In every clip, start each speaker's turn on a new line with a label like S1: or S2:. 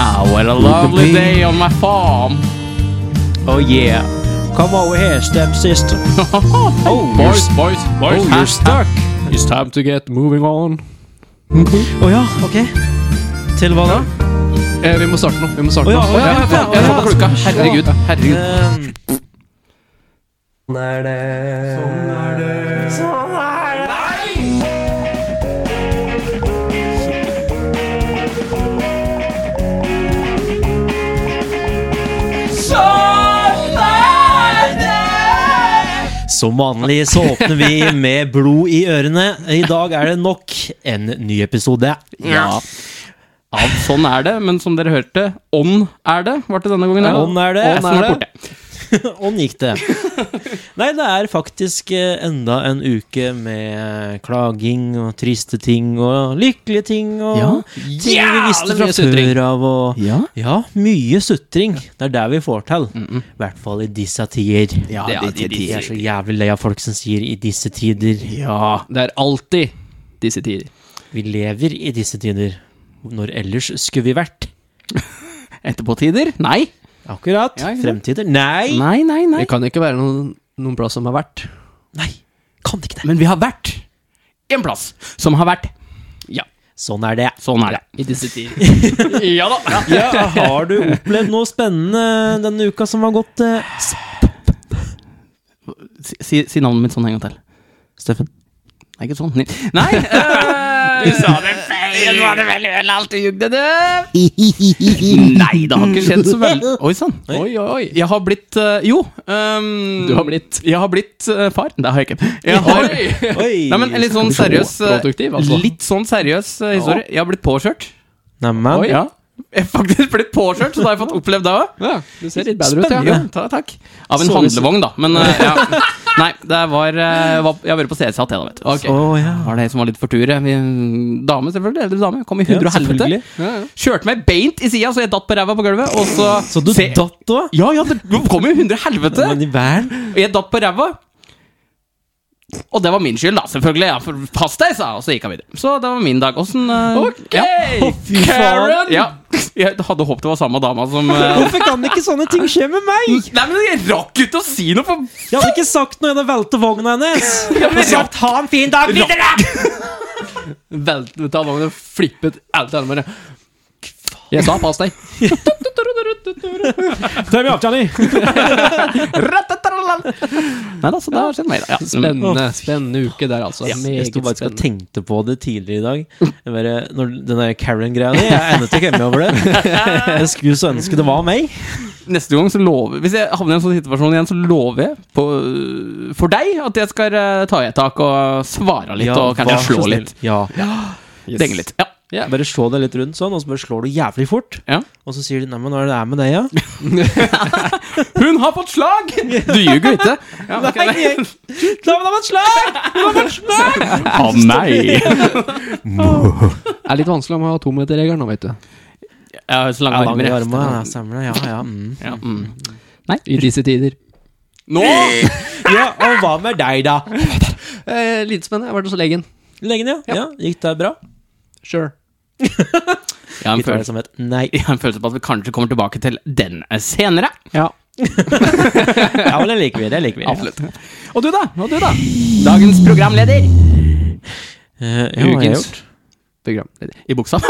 S1: Ah, what a lovely day on my farm.
S2: Oh yeah. Come over here, stepsister.
S1: oh, boys, boys, boys.
S2: Oh,
S1: huh?
S2: you're stuck.
S1: It's time to get moving on.
S2: Å Oh, ja, ok. Til hva da?
S1: Eh, vi må starte nå. Vi må starte
S2: Å ja,
S1: nå.
S2: å ja, ja,
S1: Ja,
S2: ja,
S1: jeg
S2: ja.
S1: så på klokka. Herregud. herregud.
S2: Ehm,
S3: Sånn er det. Sånn er det.
S2: Som vanlig så åpner vi med blod i ørene. I dag er det nok en ny episode.
S1: Ja. Ja, sånn er det, men som dere hørte, ånd er det. Var det denne gangen?
S2: Ja, ånd er det,
S1: Ånd er
S2: F-en
S1: det.
S2: er det. Ånd gikk det. Nei, det er faktisk eh, enda en uke med eh, klaging og triste ting og lykkelige ting og
S1: Ja.
S2: ting vi visste
S1: Jævlig
S2: fra
S1: mye sutring.
S2: før av og
S1: Ja.
S2: Ja, mye sutring. Det er der vi får til. I hvert fall i disse tider.
S1: Ja,
S2: det er,
S1: disse
S2: jeg er så jævlig lei av folk som sier 'i disse tider'.
S1: Ja, det er alltid disse tider.
S2: Vi lever i disse tider. Når ellers skulle vi vært?
S1: Etterpåtider? Nei.
S2: Akkurat.
S1: Ja, ikke sant?
S2: Fremtider? Nei!
S1: Nei, nei, nei.
S4: Det kan ikke være noen, noen plass som har vært.
S2: Nei, kan ikke det.
S1: Men vi har vært en plass som har vært. Ja,
S2: Sånn er det.
S1: sånn er det.
S4: I disse tider.
S1: Ja da.
S2: Ja, har du opplevd noe spennende denne uka som har gått, eh, S-
S1: Si, si navnet mitt sånn en gang til.
S2: Steffen?
S1: Nei, ikke sånn. Nei! eh, Du sa det feil! Var det vel øl alt du jugde, du? Nei, det har ikke skjedd så veldig. Oi sann. Oi, oi, oi. Jeg har blitt eh, Jo. ehm,
S4: Du har blitt.
S1: Jeg har blitt eh, far. Det har jeg ikke. Jeg har,
S2: Oi!
S1: nei, men en litt sånn
S4: Skal vi se.
S1: seriøs eh,
S4: Produktiv, altså.
S1: Litt sånn seriøs eh, historie. Jeg har blitt påkjørt.
S2: Neimen.
S1: Ja. Jeg har faktisk blitt påkjørt, så da har jeg fått opplevd det òg.
S4: Ja, du ser litt bedre ut, ja.
S1: Spennende. Ta- Takk. Av en
S2: Så-
S1: handlevogn, da. Men eh, ja. Nei, det var, eh, var Jeg har vært på CSH, jeg, da, vet du.
S2: Å ja.
S1: Det var det som var litt for tur. jeg. Vi, dame, selvfølgelig. Eldre dame. Kom i
S2: Ja,
S1: hundre og helvete.
S2: selvfølgelig.
S1: Kjørte meg beint i sida, så jeg datt på ræva på gulvet. Og så
S2: Så du
S1: Se-
S2: datt òg?
S1: Ja, ja, det kom jo hundre og helvete!
S2: Men i verden?
S1: Og jeg datt på ræva. Og det var min skyld, da, selvfølgelig. Ja, for pass deg, sa jeg, og så gikk jeg videre. Så det var min dag. Åssen eh,
S4: Ok,
S1: ja.
S2: fy faen.
S1: Ja. Jeg hadde håpet det var samme dama som eh,
S2: Hvorfor kan ikke sånne ting skje med meg?
S1: Nei, men jeg rakk ikke å si noe, for
S2: Jeg hadde ikke sagt noe i den velte vogna hennes. Jeg hadde sagt 'ha en fin dag videre'!
S4: Veltet av vognen og flippet alt det andre. Jeg sa pass deg.
S2: Tøm i avtalen i.
S1: Nei da, så det har skjedd meg, da. Ja. Mm.
S4: Spennende, spennende uke der, altså.
S2: Jeg
S4: Meget
S2: sto faktisk og
S4: spennende.
S2: tenkte på det tidligere i dag. Jeg bare, når den der Karen-greia di. Jeg er ennå ikke hjemme over det. Jeg skulle så ønske det var meg.
S1: Neste gang så lover Hvis jeg havner i en sånn situasjon igjen, så lover jeg på, øh, for deg at jeg skal eh, ta i et tak og svare litt, og kanskje
S2: vær så
S1: slå
S2: snill.
S1: litt.
S2: Ja.
S1: Denge litt. Ja.
S2: Bare slå deg litt rundt sånn, og så bare slår du jævlig fort.
S1: Ja.
S2: Og så sier de 'nei, men hva er det det er med deg', ja?
S1: Hun har fått slag! Du ljuger jo ikke. Ja, ok,
S2: Nei, jeg- Nei, men det var et slag!
S1: Å nei!
S4: Det er litt vanskelig å ha tometerregelen nå, vet du.
S1: Ja, så lange
S2: Ja, lange
S1: armer. jeg.
S2: armer, ja, samler, ja, ja. Mm.
S1: Ja, mm.
S4: I disse tider.
S1: Nå!
S2: ja, og hva med deg, da?
S4: Eh, lite spennende. Jeg har vært hos legen.
S2: Legen, ja. ja. Gikk det bra?
S4: Sure.
S1: Jeg har en
S2: Vi tar det
S1: følelse-
S2: som et nei.
S1: jeg har en følelse på at vi kanskje kommer tilbake til den senere.
S4: Ja.
S2: Ja, men det liker vi. Det liker vi.
S1: Absolutt. Og du, da? Og du, da? Dagens programleder.
S2: Eh, ja, hva har jeg
S4: Ukens.
S2: gjort?
S4: Programleder.
S1: I buksa.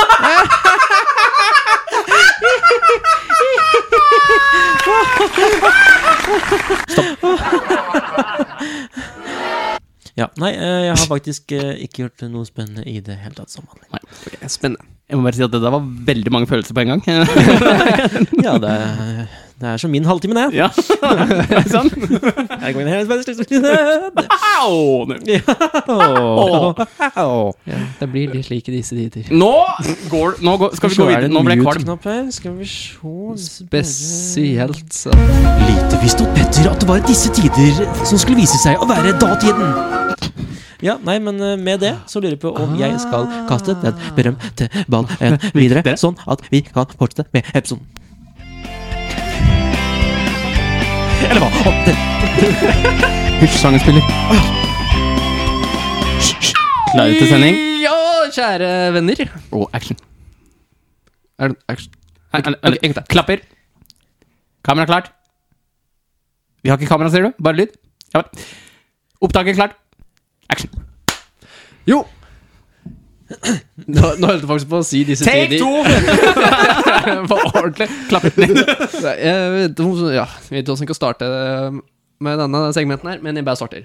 S2: Ja, nei, eh, jeg har faktisk eh, ikke gjort noe spennende i det hele tatt som vanlig.
S4: Ok, Spennende.
S1: Jeg må bare si at det der var veldig mange følelser på en gang.
S2: Ja, det, er- det er som min halvtime, det.
S1: ja. sånn.
S2: Jeg går inn her, og spiller-
S1: Au!
S2: Åh. Åh.
S4: Ja, det blir litt slik i disse tider.
S1: Nå går Nå går, skal vi
S2: Så
S1: gå
S2: er det
S1: videre.
S2: en
S1: Nå ble jeg kvalm.
S2: mute-knapp her. Skal vi se
S4: Spesielt så
S2: Lite visste opp Petter at det var disse tider som skulle vise seg å være datiden. Ja, nei, men eh, med det så lurer jeg på om jeg skal kaste den berømte ballen videre, sånn at vi kan fortsette med episoden. Eller hva? Opp til
S4: Hysj-sangen spiller.
S1: Klare til sending.
S4: Ja, kjære venner.
S1: Og action.
S4: Er det action?
S1: Ok, ok, Klapper. Kamera klart. Vi har ikke kamera, ser du. Bare lyd. Ja vel. Opptaket klart. Action.
S4: Jo! Nå, nå holdt jeg faktisk på å si disse
S1: Take
S4: tider.
S1: two!
S4: På ordentlig.
S1: Klapper ned.
S4: Nei, Jeg vet ikke om- ja, jeg vet ikke hvordan jeg skal starte med denne segmenten her, men jeg bare starter.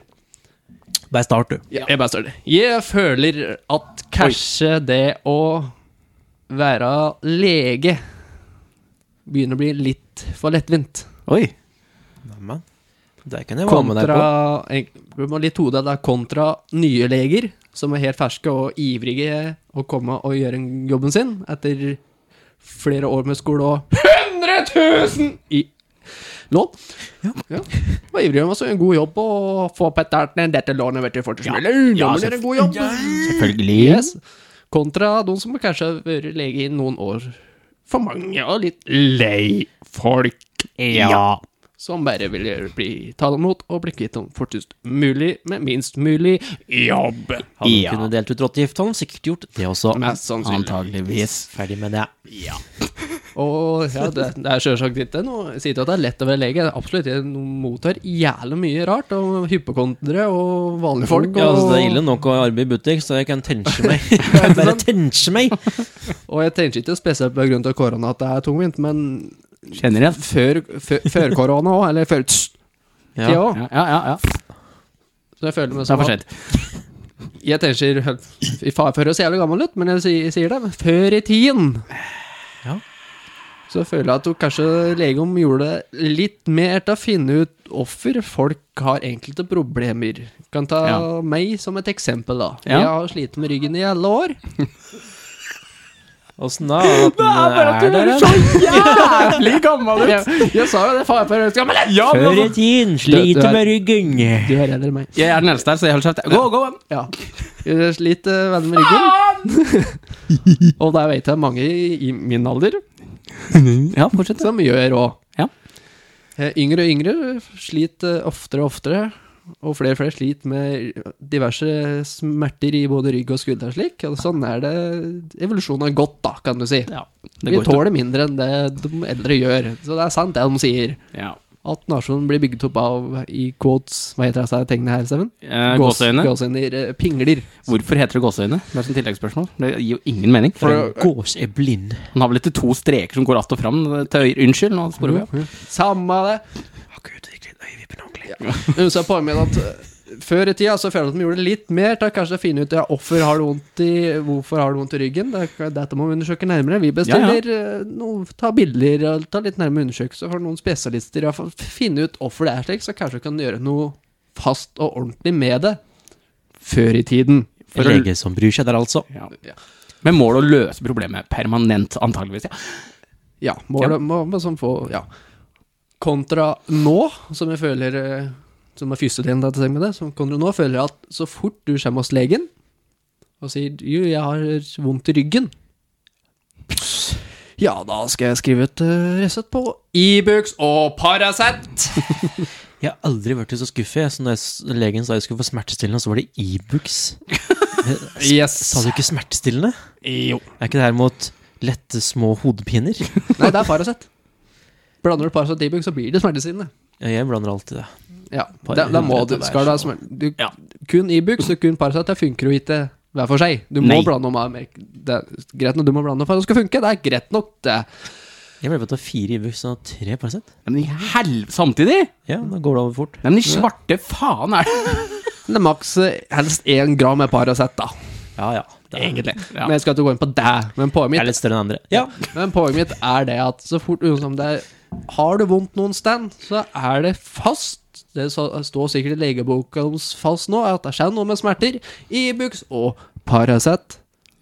S2: Bare start, du.
S4: Jeg bare starter. Jeg føler at kanskje det å være lege begynner å bli litt for lettvint.
S1: Oi.
S2: Neimen, det kan jeg være med deg på.
S4: Kontra jeg- det var litt hodet der, kontra nye leger, som er helt ferske og ivrige å komme og gjøre en- jobben sin etter flere år med skole og 100 000 i lån. Ja. Var ivrig om å gjøre en god jobb og få petterne dette lånet, vet du, fort som mulig. Ja, gjøre en god jobb.
S1: Selvfølgelig.
S4: Yes. Kontra de som kanskje har vært lege i noen år for mange og litt lei folk
S1: Ja.
S4: som bare vil gjøre- bli ta dem imot og bli kvitt dem fortest mulig med minst mulig jobb.
S2: Hadde
S1: Ja.
S2: du kunnet delt ut rottegift, hadde han sikkert gjort det også.
S4: Mest sannsynlig.
S1: Antageligvis.
S2: Ferdig med det.
S4: Og ja, det, det er sjølsagt ikke noe Jeg sier ikke at det er lett å være lege. Det er absolutt ikke noe mottar jævlig mye rart. Og hypokondere og vanlige folk. Og,
S2: Ja, altså, det er ille nok å arbeide i butikk, så jeg kan tenke meg. Bare tenke meg!
S4: og jeg tenker ikke spesielt på grunn til korona at det er tungvint, men
S1: Generelt.
S4: før, før, før korona òg, eller før tss,
S2: Ja.
S4: tida òg.
S1: Ja, ja, ja. ja.
S4: Så jeg føler meg
S1: Det
S4: som
S1: er for
S4: at-
S1: sent.
S4: Jeg tenker Vi føler oss jævlig gammel ut, men jeg sier, sier det. men Før i tiden.
S2: Ja.
S4: Så føler jeg at hun kanskje legom gjorde det litt mer til å finne ut hvorfor folk har enkelte problemer. Kan ta
S1: Ja.
S4: meg som et eksempel, da.
S1: Ja.
S4: Jeg har slitt med ryggen i alle år.
S2: Åssen da? At den er der, ja?
S1: jævlig gammel
S4: Jeg, jeg sa jo det, faen, for jeg skal med lett!
S1: Ja,
S2: Før i
S1: men
S2: tiden
S4: Du- du
S2: sliter
S4: er-
S2: med ryggen.
S4: Du er eldre enn meg.
S1: jeg er den eldste her, så jeg holder kjeft. Gå, gå!
S4: Ja. Jeg har slitt eh, veldig med ryggen. Og der vet jeg mange i, i min alder
S1: Ja, fortsett.
S4: som gjør òg.
S1: Ja.
S4: Yngre og yngre sliter eh, oftere og oftere, og flere og flere sliter med diverse smerter i både rygg og skulder og slik. Og sånn er det evolusjonen har gått, da, kan du si.
S1: Ja, det
S4: Vi
S1: går
S4: tåler mindre enn det de eldre gjør. Så det er sant, det de sier.
S1: Ja.
S4: At nasjonen blir bygget opp av i quotes Hva heter det seg tegnene her, Seven?
S1: Eh,
S4: Gås-
S1: Gåseøyne.
S4: Gåseøyner. eh, Pingler.
S1: Hvorfor heter det gåseøyne? Det er sånn tilleggsspørsmål. Det gir jo ingen mening.
S4: For-
S2: Gås er blind.
S1: Han har vel ikke to streker som går att og fram til øyre? Unnskyld, nå sporer vi av.
S4: Samme det.
S2: Å, Gud, det glir øyevippene ordentlig.
S4: Men så er poenget mitt at eh, før i tida så føler jeg at de gjorde litt mer til å kanskje finne ut ja, hvorfor har du vondt i, hvorfor har du vondt i ryggen. Det, er- dette må vi undersøke nærmere. Vi bestiller eh, noe- ta bilder og ta litt nærmere undersøkelser for noen spesialister. Ja, for å finne ut hvorfor det er slik, så kanskje du kan gjøre noe fast og ordentlig med det. Før i tiden.
S2: En lege som bryr seg der, altså.
S1: Ja. Med mål å løse problemet permanent, antageligvis. Ja.
S4: Ja, må,
S1: Ja.
S4: Må, må sånn få Ja. Kontra nå, som jeg føler eh, Som er første delen av dette segmentet, som kontra nå føler jeg at så fort du kommer hos legen og sier 'jo, jeg har vondt i ryggen', ja, da skal jeg skrive et eh, resept på Ibux og Paracet.
S2: Jeg har aldri vært så skuffet jeg, som da jeg s- legen sa jeg skulle få smertestillende, og så var det Ibux.
S4: Yes.
S2: Sa du ikke smertestillende?
S1: Jo.
S2: Er ikke det her mot lette, små hodepiner?
S4: Nei, det er Paracet. Blander du Paracet og Ibux, så blir det smertestillende.
S2: Ja, Jeg blander alltid det.
S4: Ja, da, da må du, skal du ha smerte du,
S1: Ja.
S4: Kun Ibux og kun Paracet det funker jo ikke hver for seg. Du må
S1: Nei.
S4: blande om Amerik- Det er greit nok, du må blande om for at det skal funke. Det er greit nok, det.
S2: Jeg ble på å ta fire Ibux og tre Paracet.
S1: Men i hel... Samtidig?
S2: Ja, da går det over fort.
S1: Nei, men i svarte faen er det
S4: Men det er maks eh, helst én gram med Paracet, da.
S2: Ja, ja. Det er,
S4: Egentlig.
S1: Ja.
S4: Men jeg skal ikke gå inn på det. Men poenget
S2: jeg
S4: mitt
S2: er litt større enn andre. Ja.
S4: Men poenget mitt er det at så fort uansett om det er Har du vondt noen stand, så er det fast. Det så- står sikkert i legeboka deres fast nå, at det skjer noe med smerter. Ibux og Paracet.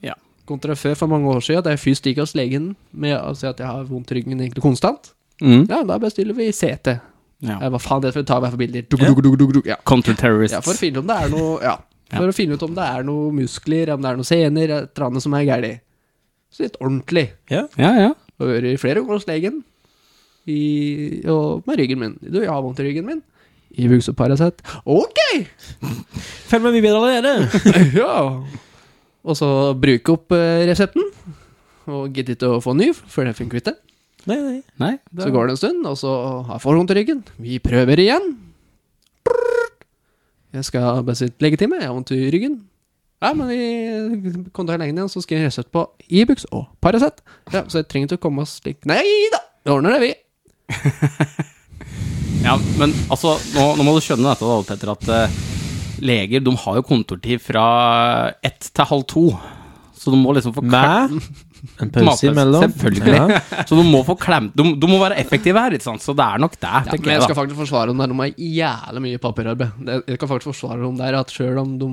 S1: Ja.
S4: Kontra før, for mange år siden, at jeg først gikk hos legen med å si at jeg har vondt i ryggen egentlig konstant.
S1: mm.
S4: Ja, da bestiller vi CT.
S1: ja.
S4: Ja. Hva faen, det skal vi ta hver for bilder. Duk, duk, duk, duk, duk. Ja.
S1: Counterterrorists.
S4: Ja, for å finne ut om det er noe Ja, for å finne ut om det er noe muskler, om det er noen sener, et eller annet som er galt. Så litt ordentlig.
S2: ja.
S1: ja, ja.
S4: Og hører flere ganger hos legen i, og med ryggen min. Du, jeg har vondt i ryggen min. I buks og Paracet. Ok!
S2: Følg meg mye bedre allerede.
S4: ja. Og så bruke opp eh, resepten. Og gidde ikke å få ny, for det funker ikke.
S2: Nei, nei.
S1: Nei, det,
S4: Så går det en stund, og så har jeg for vondt i ryggen. Vi prøver igjen. Brrr. Jeg skal bestilt legetime, jeg har vondt i ryggen. Ja, men vi kom til legen igjen, så skal jeg resept på Ibux og Paracet. Ja, så jeg trenger ikke å komme oss slik Nei da, vi ordner det, vi.
S1: Ja, men altså, nå, nå må du skjønne dette da, Petter, at eh, leger de har jo kontortid fra ett til halv to. Så de må liksom få
S2: Med en pause
S1: Matpause,
S2: imellom.
S1: selvfølgelig. Så de må få klem... De, de må være effektive her, ikke sant? Så det er nok det,
S4: Ja,
S1: tenker
S4: men jeg
S1: jeg,
S4: skal
S1: da.
S4: faktisk forsvare om det er noe jævlig mye papirarbeid. Det- Jeg skal faktisk forsvare om det er at selv om de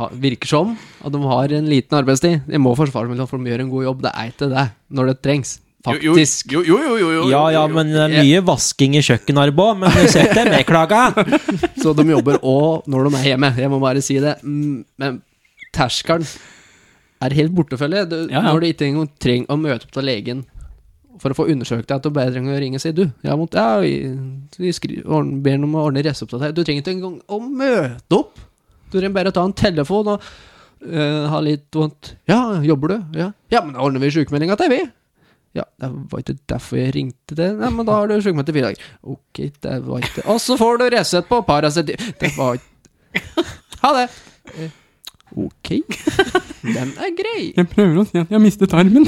S4: har- virker som at de har en liten arbeidstid Jeg må forsvare dem for de gjør en god jobb. Det er ikke det når det trengs. Faktisk.
S1: Jo, jo, jo, jo, jo, jo.
S2: Ja ja, men det er mye vasking i kjøkkenarbeid òg, men du ser ikke meg klaga.
S4: Så de jobber òg når de er hjemme. Jeg må bare si det. Mm, Men terskelen er helt borte, føler jeg. Du-
S1: Ja, ja.
S4: Når du ikke engang trenger å møte opp til legen for å få undersøkt deg, at du bare trenger å ringe og si Du, jeg har vondt. Ja, vi, vi skri, ordn- ber om å ordne resept til deg. Du trenger ikke engang å møte opp. Du trenger bare å ta en telefon og eh, ha litt vondt. Ja, jobber du? Ja, ja men da ordner vi sjukmeldinga til, vi. Ja, det var ikke derfor jeg ringte det. Nei, men da har du sjukmeldt i fire dager. Ok, det var ikke Og så får du Resett på Paracet. Det var ikke Ha det! Eh, Ok. Den er grei.
S1: Jeg prøver å si at jeg mistet armen.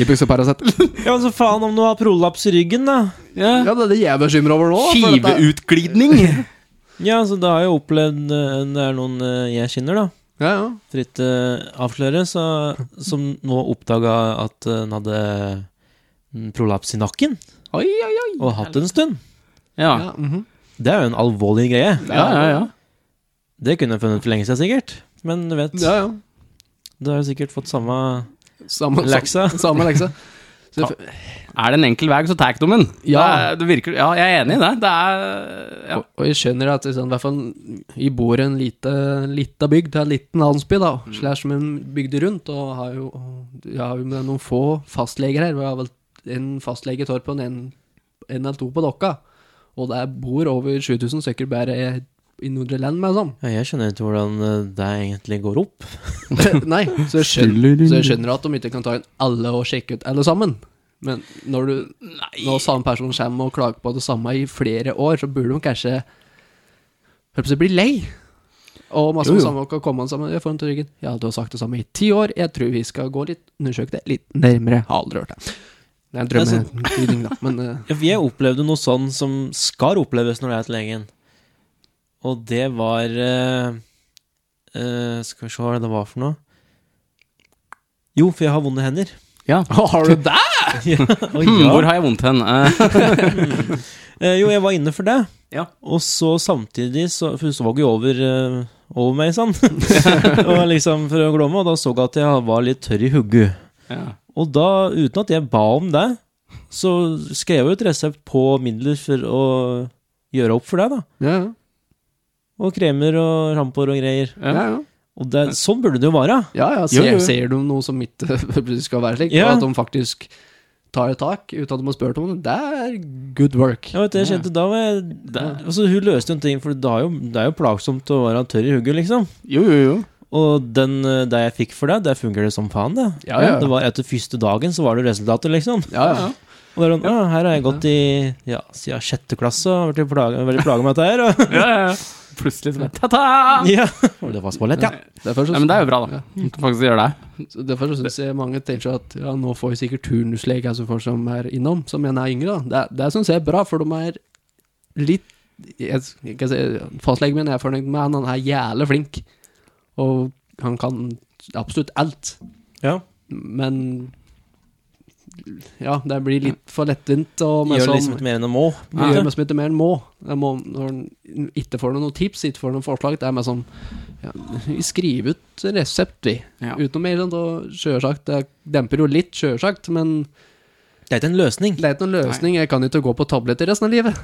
S4: Ibux og Paracet.
S2: Ja, men så faen om du har prolaps i ryggen, da.
S4: Ja, det er det jeg er bekymra over nå. for dette-
S1: Skiveutglidning!
S2: Ja, så da har jeg opplevd eh, Det er noen eh, jeg kjenner, da.
S4: Ja, ja.
S2: For ikke eh, avsløre, så, som nå oppdaga at eh, han hadde mm, prolaps i nakken,
S4: Oi, oi, oi.
S2: og hatt det en stund.
S1: Ja.
S4: Ja, mhm.
S2: Det er jo en alvorlig greie.
S1: Ja, ja, ja.
S2: Det kunne jeg funnet for lenge siden, sikkert. Men du vet,
S4: ja, ja.
S2: du har jo sikkert fått samme
S4: Samme
S2: leksa.
S4: Samme lekse. Så det-
S1: Er det en enkel vei, så tar de den. Det
S4: Ja.
S1: er- Det virker, ja, jeg er enig i det. Det er ja.
S4: Og, og jeg skjønner at det er sånn, i hvert fall vi bor i en lite, lita bygd, det er en liten landsby, da, slash som en bygd rundt, og har jo, ja, har jo med noen få fastleger her. Vi har vel en fastlege i Torpen, en, en eller to på Dokka, og der bor over 7000 stykker bare i- i Nordre Land, med sånn.
S2: Ja, jeg skjønner ikke hvordan eh, det egentlig går opp.
S4: Nei, så jeg, skjønner, så jeg skjønner at de ikke kan ta inn alle og sjekke ut alle sammen. Men når du Når samme person kommer og klager på det samme i flere år, så burde de kanskje Hørte på å bli lei. Og masse
S1: Jo, jo.
S4: samme kan komme sammen. Jeg får den til ryggen. Ja, du har sagt det samme i ti år. Jeg tror vi skal gå litt undersøke det litt nærmere. Har aldri hørt det. Det er en drømmetydning, da. Men eh,
S2: Ja, for Jeg opplevde noe sånn som skal oppleves når det er til legen. Og det var eh, eh, Skal vi se hva det var for noe. Jo, for jeg har vonde hender.
S4: Har du det?
S2: Oi,
S1: Hmm,
S2: ja.
S1: Hvor har jeg vondt hen? Eh,
S2: Eh, jo, jeg var inne for det.
S1: Ja.
S2: Og så samtidig så For hun så jo over, eh, over meg, sånn. og liksom for å glemme, og da så jeg at jeg var litt tørr i hugget.
S1: ja.
S2: Og da, uten at jeg ba om det, så skrev jeg ut resept på midler for å gjøre opp for deg, da.
S4: Ja,
S2: Og kremer og ramper og greier.
S4: ja. ja, ja.
S2: Og det, sånn burde det jo være.
S4: ja, ja
S1: Jo, jo.
S4: ser, ser du noe som ikke skal være slik,
S2: Ja.
S4: og at de faktisk tar et tak uten at de har spurt om det, det er good work.
S2: Jeg vet, jeg kjente da var jeg, altså, Hun løste jo en ting, for det er jo, det er jo plagsomt å være tørr i hugget, liksom.
S1: Jo, jo, jo.
S2: Og den, eh, det jeg fikk for det, der fungerer det som faen, det.
S4: Ja, ja, ja.
S2: Det var Etter første dagen så var det resultatet, liksom.
S4: Ja, ja.
S2: Og det er sånn, «Ah, her har jeg gått i ja, siden sjette klasse og vært i plaga, veldig plaga med dette her. Og,
S1: Ja, ja, ja. Plutselig så bare ta-ta!
S2: ja. Og det var smålett, ja.
S4: Derfor så
S1: Nei, men det er jo bra, da. Du kan faktisk gjøre det.
S4: Så Derfor syns jeg mange tenker at ja, nå får vi sikkert turnusleger altså folk som er innom, som gjerne er yngre. da. Det, det syns jeg er bra, for de er litt jeg, jeg kan si, Fastlegen min er fornøyd med han, han er jævlig flink. Og han kan absolutt alt.
S2: ja.
S4: Men ja, det blir litt for lettvint. Og med
S2: Gjør
S4: sånn-
S2: liksom ikke mer enn det må. på en
S4: ja. gjør
S2: måte.
S4: meg som ikke mer enn må. Jeg må når en ikke får noen tips, ikke får noen forslag, det er mer sånn ja, Vi skriver ut resept, vi.
S1: Ja.
S4: Utenom mer sånn, og sjølsagt Det demper jo litt, sjølsagt, men
S2: Det er ikke en løsning.
S4: det er ikke noen løsning. Jeg kan ikke gå på tabletter resten av livet.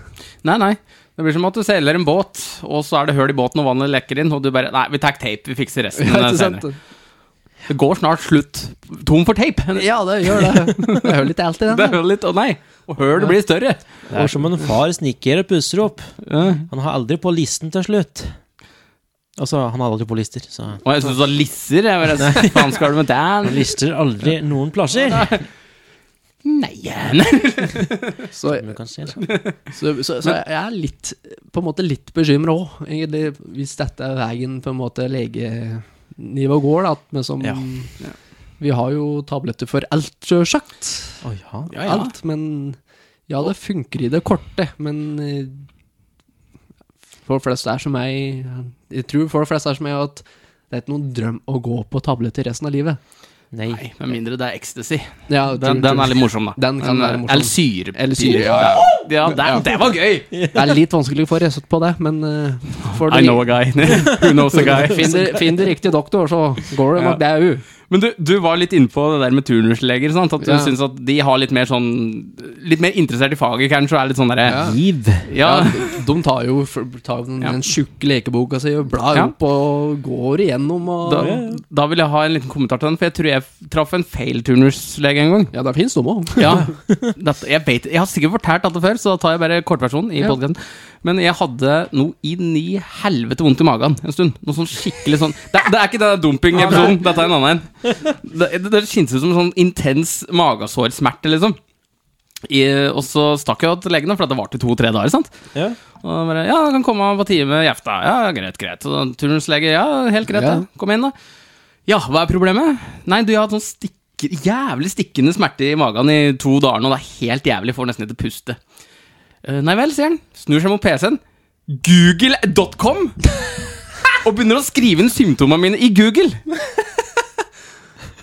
S1: Nei, nei. Det blir som at du selger en båt, og så er det hull i båten, og vannet lekker inn, og du bare Nei, vi tar tape, vi fikser resten eh,
S4: Ja, ikke sant?
S1: senere. Det går snart slutt. Tom for tape!
S4: ja det gjør det. Det hører litt alt i
S1: Det
S4: den.
S1: er jo litt Å nei! Og hølet blir større.
S2: Det er som en far sniker og pusser opp. Han har aldri på listen til slutt. Altså, han har aldri på lister, så
S1: Og jeg syns du sa lisser. Jeg bare, Faen skal du med den?
S2: Han lister aldri noen plasser.
S1: Nei. Nei.
S4: Så,
S2: Men du kan se sånn.
S4: så, så, så jeg er litt, på en måte litt bekymra òg, egentlig, hvis dette er veien på en måte legenivå går, da. at- Men som
S2: Ja.
S4: Vi har jo tabletter for alt, sjølsagt.
S2: Å ja.
S1: Ja, ja.
S4: Alt. Men ja, det funker i det korte, men eh, for flest er som meg Jeg tror for flest er som meg at det er ikke noen drøm å gå på tabletter resten av livet.
S2: Nei.
S1: Nei, Med mindre det er ecstasy.
S4: Ja, jeg
S1: Den,
S4: tror-
S1: den er litt morsom, da.
S4: Den kan være morsom.
S1: Eller syre.
S4: Eller syre, ja,
S1: ja. den, det var gøy!
S4: Det er litt vanskelig å få resept på det, men eh, får du
S1: I know a guy. Who knows a guy.
S4: finn det- finn det riktig doktor, så går det nok det òg.
S1: Men du, du var litt inne på det der med turnusleger. Sant? At du
S4: Ja.
S1: syns at de har litt mer sånn Litt mer interessert i faget, kanskje, og er litt sånn derre ja.
S2: Liv.
S4: de tar jo f- tar den,
S1: Ja.
S4: den tjukke lekeboka si og blar
S1: Ja.
S4: opp og går igjennom og
S1: Da, da vil jeg ha en liten kommentar til den, for jeg tror jeg f- traff en feil turnuslege en gang.
S4: Ja, det fins noe òg.
S1: Ja, dette, jeg, vet, jeg har sikkert fortalt dette før, så da tar jeg bare kortversjonen i
S4: Ja.
S1: podcasten. Men jeg hadde noe inn i helvete vondt i magen en stund. Noe sånn skikkelig sånn Det, det er ikke denne dumping-episoden, dette er en annen en. Det, det, det kjennes ut som en sånn intens magesårsmerte, liksom. I, og så stakk jeg jo til legen, da, for det varte i to-tre dager. sant?
S2: Ja.
S1: Og da bare, ja, han kan komme på time i aften. Ja, greit, greit. Og da turnuslege, ja, helt greit.
S4: Ja.
S1: Ja. Kom inn, da. Ja, hva er problemet? Nei, du jeg har hatt sånn stikker, jævlig stikkende smerte i magen i to dager nå. Det er helt jævlig, får nesten ikke puste. «Eh, Nei vel, sier han. Snur seg mot PC-en. Google.com! Og begynner å skrive inn symptomene mine i Google.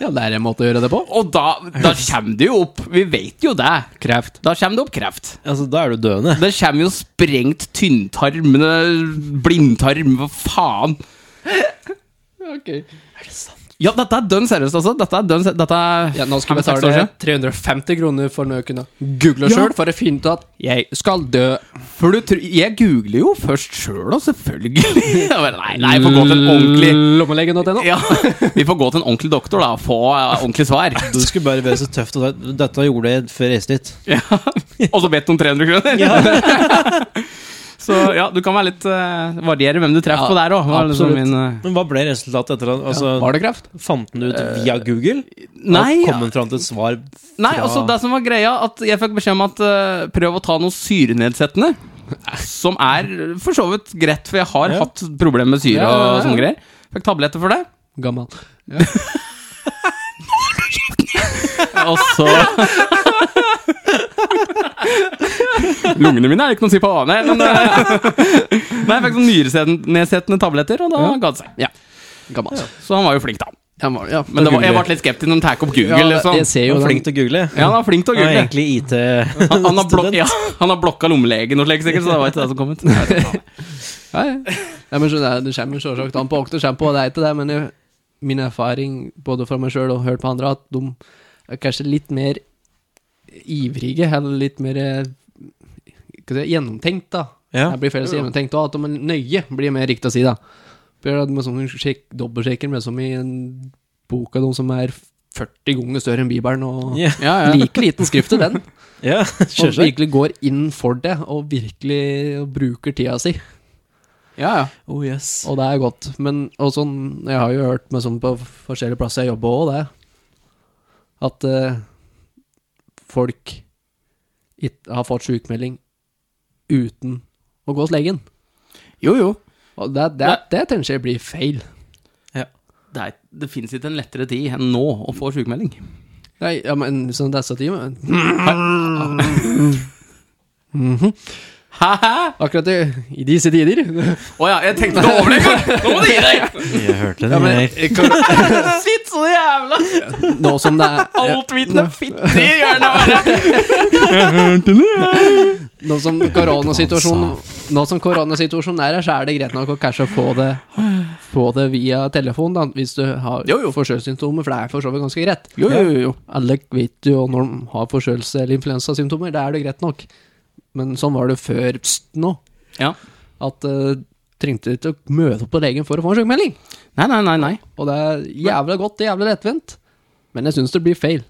S4: Ja, det er en måte å gjøre det på.
S1: Og da, da kommer det jo opp. Vi vet jo det.
S4: Kreft.
S1: Da kommer det opp kreft.
S2: Altså, da er du døende.
S1: Det kommer jo sprengt tynntarm, men det- blindtarm, hva faen? Ja, dette er dønn seriøst, altså. Dette er dønn seriøst. Dette er
S4: Ja, nå skal vi
S1: fem-seks år
S4: betale
S1: siden.
S4: 350 kroner for å kunne google
S1: Ja.
S4: sjøl for å finne ut at jeg skal dø.
S1: For du tror Jeg googler jo først sjøl, da, selvfølgelig. Jeg bare, Nei, nei, vi får gå til en ordentlig
S4: Lommelegen.no.
S1: ja, Vi får gå til en ordentlig doktor, da, og få eh, ordentlig svar.
S2: Du skulle bare være så tøft, og da- dette gjorde jeg før jeg reiste dit.
S1: Ja. Og så bedt om 300 kroner. Så ja, du kan være litt eh, variere hvem du treffer
S4: Ja,
S1: på der òg. Liksom
S4: absolutt.
S1: min, eh,
S2: Men hva ble resultatet etter at altså,
S4: Var det kreft?
S2: Fant den ut via Google?
S1: nei,
S2: og kom den fram til et svar
S1: Nei,
S2: fra-
S1: altså det som var greia At jeg fikk beskjed om at eh, Prøv å ta noe syrenedsettende Som er for så vidt greit For jeg har
S2: Ja.
S1: hatt problemer med syre
S4: Ja, ja, ja.
S1: og sånne greier Fikk tabletter for det
S4: Gammal.
S1: Og så Lungene mine er det ikke noe å si på Nei, men eh, Nei, jeg fikk sånn nyrenedsettende tabletter Og da ga det seg
S4: Ja. Gammal. Ja.
S1: Så han var jo flink da
S4: var- ja,
S1: Men det var, jeg
S4: Google.
S1: ble litt skeptisk når han tar opp Google
S4: Ja,
S1: liksom.
S4: Jeg ser
S2: Du
S4: jo
S2: var
S4: den.
S2: flink til å google.
S1: Ja, han er flink til å
S2: Han er
S1: google
S2: egentlig IT
S1: Han, han, har blok
S2: student.
S1: ja, han har blokka lommelegen og slik sikkert Så det var ikke det som kom ut Jeg vet ikke.
S4: Ja, ja. ja men så det, det kommer selvsagt an på hvem det kommer på, det er ikke det, men jeg, min erfaring, både fra meg sjøl og hørt på andre, at de er kanskje litt mer ivrige, eller litt mer eh, hva skal jeg si, gjennomtenkt, da.
S2: Ja.
S4: Jeg blir feil å si gjennomtenkt òg, at de er nøye, blir mer riktig å si, da. For at man sånn sjekk, dobbeltsjekker med som i en bok av de som er 40 ganger større enn Bibelen, og
S2: Ja.
S4: like liten skrift til den.
S2: Ja,
S4: Og
S2: sjølsagt.
S4: virkelig går inn for det, og virkelig bruker tida si. Ja, ja.
S2: Oh, yes.
S4: Og det er godt. Men og sånn, jeg har jo hørt med sånn på forskjellige plasser jeg jobber òg, det. At eh, folk it, har fått sjukmelding uten å gå hos legen.
S1: Jo, jo.
S4: Og det, det, det, tenker jeg blir feil.
S1: Det, er, det finnes ikke en lettere tid enn nå å få sykemelding.
S4: Nei, ja, men sånn disse timer
S1: Hæ?
S4: Akkurat i, i disse tider.
S1: Å ja, jeg tenkte det over det en gang! Nå må du gi deg!
S2: Jeg hørte
S4: Ja,
S2: den,
S4: men,
S2: jeg.
S4: jeg kan,
S1: Sitt så jævla
S4: nå som det er
S1: altvitende fitte i hjørnet bare!
S4: Nå som koronasituasjonen Nå som koronasituasjonen er her, så er det greit nok å kanskje få det Få det via telefon, da, hvis du har
S1: Jo, jo.
S4: forkjølelsessymptomer, for det er for så vidt ganske greit.
S1: Jo, jo, jo, jo.
S4: Alle vet jo når de har forkjølelse- eller influensasymptomer, da er det greit nok. Men sånn var det før pst, nå,
S1: Ja.
S4: at uh, trengte ikke å møte opp på legen for å få en sykemelding.
S1: Nei, nei, nei. nei.
S4: Og det er jævla godt, det er jævla lettvint, men jeg syns det blir feil.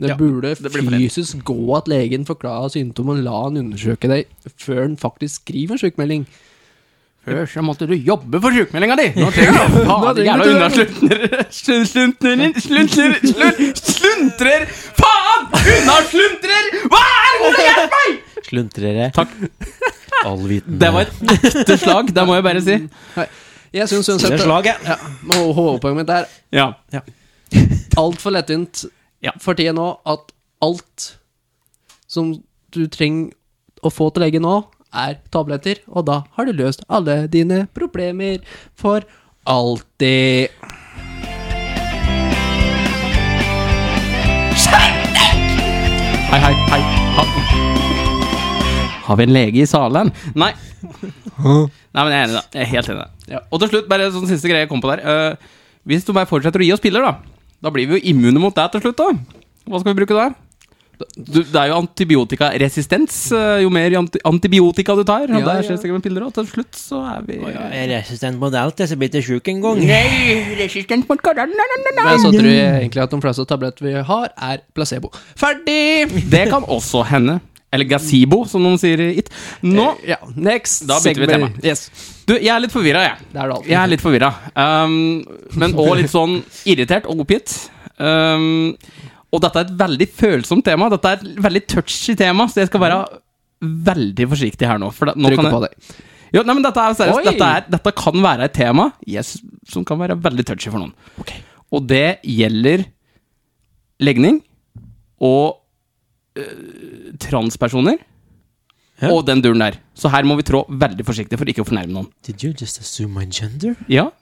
S4: Det
S1: Ja,
S4: burde
S1: det blir feil.
S4: fysisk gå at legen forklarer symptomene, la han undersøke deg før han faktisk skriver en sykemelding.
S1: Før så måtte du jobbe for sykemeldinga di! Nå trenger du faen
S4: trenger
S1: jævla
S4: du det.
S1: unnasluntrere Sluntrer Sluntrer Sluntrer Faen! unna, sluntrer! Hva er det?! Hjelp meg!
S2: Sluntrere.
S1: Takk.
S2: Allvitende.
S1: Det var et ekte slag, det må jeg bare si.
S4: Jeg syns uansett
S2: Stille slaget.
S4: ja, må- Hovedpoenget mitt er
S1: Ja.
S4: altfor lettvint
S1: Ja.
S4: for tida nå at alt som du trenger å få til lege nå, er tabletter, og da har du løst alle dine problemer for alltid.
S1: Hei, hei, hei. Ha. Har vi en lege i salen? Nei. Nei, men jeg er enig, da. Jeg er helt enig. i det.
S4: Ja.
S1: Og til slutt, bare sånn siste greie jeg kom på der. Eh, hvis du bare fortsetter å gi oss piller, da, da blir vi jo immune mot deg til slutt, da. Hva skal vi bruke da? Du, det er jo antibiotikaresistens. eh, Jo mer anti antibiotika du tar, og
S4: Ja,
S1: der
S4: ja.
S1: skjer det sikkert med piller, og til slutt så er vi
S2: Jeg er resistent mot alt, jeg så blir jeg sjuk en gang.
S1: Nei, resistent mot koronaen.
S4: Men så tror jeg egentlig at de fleste tabletter vi har, er placebo. Ferdig!
S1: Det kan også hende. Eller gazebo, som noen sier i it. Nå
S4: Ja, next
S1: Da bytter vi
S4: segment.
S1: tema. Du, jeg er litt forvirra, jeg.
S4: Det er det alltid.
S1: Jeg er litt forvirra. Um, men òg litt sånn irritert og oppgitt. Um, og dette er et veldig følsomt tema. Dette er et veldig touchy tema, så jeg skal være veldig forsiktig her nå. For det, nå
S4: Trykker
S1: kan jeg,
S4: på deg.
S1: Jo, nei, men dette er seriøst.
S4: Oi!
S1: Dette, er, dette kan være et tema yes, som kan være veldig touchy for noen. Og det gjelder legning og øh, transpersoner.
S2: Ja.
S1: Og den duren der. Så her må vi trå veldig forsiktig for ikke å fornærme noen.
S2: Did you just assume my gender?
S1: Ja.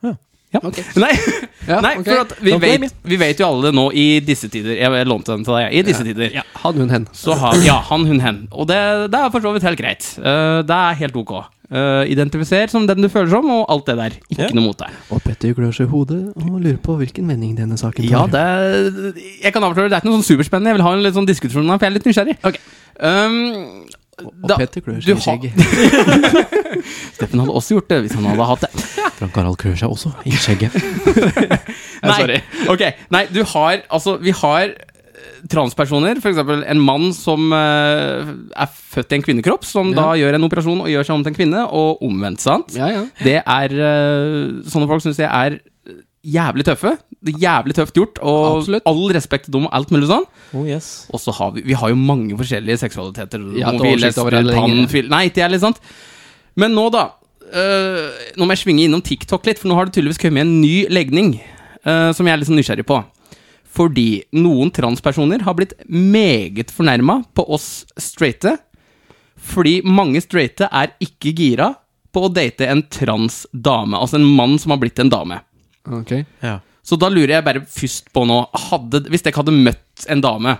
S2: Ja.
S1: Ja. Nei,
S4: Ja,
S1: nei
S4: ok.
S1: for at vi,
S2: No blame,
S1: vet, vi vet jo alle nå i disse tider Jeg jeg lånte den til deg. jeg. I disse tider.
S4: Hadde hun hen.
S1: Så har, ja, han, hun, hen. Og det, det er for så vidt helt greit. Eh, det er helt ok. Eh, identifiser som den du føler som, og alt det der. Ikke
S2: Ja.
S1: noe mot deg.
S4: Og Petter klør seg i hodet og lurer på hvilken vending denne saken tar.
S1: Ja, det, jeg kan avsløre det er ikke noe sånn superspennende. Jeg vil ha en litt sånn diskusjon her, for jeg er litt nysgjerrig.
S4: Ok.
S1: Um,
S4: og
S1: da-
S4: Petter klør
S1: du
S4: seg i
S1: har-
S4: skjegget.
S1: Steffen hadde også gjort det hvis han hadde hatt det.
S2: Frank Harald klør seg også i skjegget.
S1: Nei, Eh, ok. Nei, du har Altså, vi har eh, transpersoner, f.eks. en mann som eh, er født i en kvinnekropp, som da gjør en operasjon og gjør seg om til en kvinne, og omvendt, sant?
S4: Ja, ja.
S1: Det er eh, Sånne folk syns jeg er eh, jævlig tøffe. Det er jævlig tøft gjort, og
S4: Absolutt.
S1: all respekt til dem og alt mulig sånn.
S2: Oh yes.
S1: Og så har vi, vi har jo mange forskjellige seksualiteter.
S4: Ja, et
S1: Homofil,
S4: oversikt over
S1: lesbe,
S4: det lenger.
S1: panfil Nei, det er litt sant. Men nå, da. øh, nå må jeg svinge innom TikTok litt, for nå har det tydeligvis kommet en ny legning øh, som jeg er litt sånn nysgjerrig på. Fordi noen transpersoner har blitt meget fornærma på oss straighte. Fordi mange straighte er ikke gira på å date en transdame. Altså en mann som har blitt en dame.
S4: Ok.
S2: Ja.
S1: Så da lurer jeg bare først på nå hadde, Hvis dere hadde møtt en dame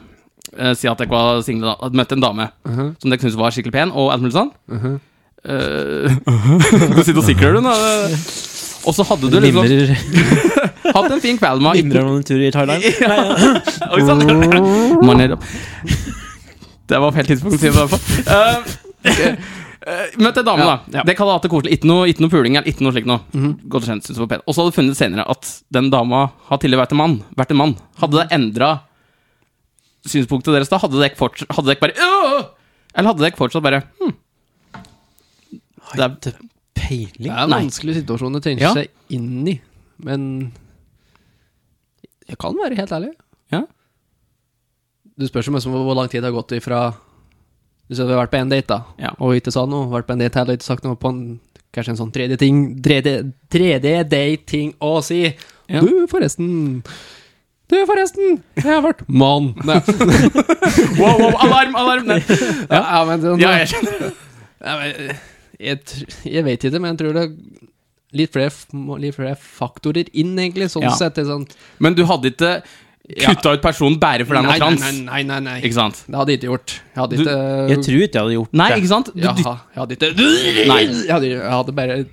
S1: eh, Si at dere var single, da, hadde møtt en dame som dere syntes var skikkelig pen, og alt mulig sånn Eh, Du sitter og sikler, du nå. Og så hadde du liksom
S2: Limrer,
S1: hatt en fin kveld med henne.
S2: limrer noen tur i Thailand. Nei, ja.
S1: Oi sann! Man er opp. Det var feil tidspunkt å si det på. Uh, Møtt ei dame, eh, da. Det kaller jeg hatt det koselig. Ikke noe, ikke noe puling eller ikke noe slikt noe. Godt kjent, synes det var pent. Og så hadde du funnet senere at den dama har tidligere vært en mann. Vært en mann. Hadde det endra synspunktet deres da? Hadde dere fortsatt Hadde dere bare «Åh!» Eller hadde dere fortsatt bare hm,
S2: Har jeg ikke peiling.
S4: Det er en
S1: Nei.
S4: vanskelig situasjon å tenke
S1: Ja.
S4: seg inn i, men Jeg kan være helt ærlig.
S1: Ja.
S4: Du spørs jo mest om hvor hvor lang tid det har gått ifra Hvis vi har vært på én date, da,
S1: Ja.
S4: og ikke sa noe, vært på en date her og ikke sagt noe på en Kanskje en sånn 3D-ting 3D-dating å si.
S1: Ja.
S4: Du, forresten. Du, forresten. Jeg har vært mann. Nei.
S1: Wow, wow, alarm, alarm! Nei.
S4: Ja, ja, men sånn,
S1: Ja, jeg skjønner.
S4: Nei, men, eh, jeg, tr- jeg vet ikke, men jeg tror det er litt flere, f- må- litt flere faktorer inn, egentlig, sånn
S1: Ja.
S4: sett. Ikke sant?
S1: Men du hadde ikke kutta ut personen bare fordi han var
S4: nei,
S1: trans?
S4: nei, nei, nei, nei.
S1: Ikke sant?
S4: Det hadde jeg ikke gjort. Jeg hadde
S1: Du-
S4: ikke
S2: Jeg tror ikke jeg hadde gjort
S1: Nei,
S2: det.
S1: ikke sant? Du
S4: Jaha,
S1: dytter
S4: jeg hadde ikke
S1: Nei.
S4: Jeg hadde, jeg hadde bare jeg,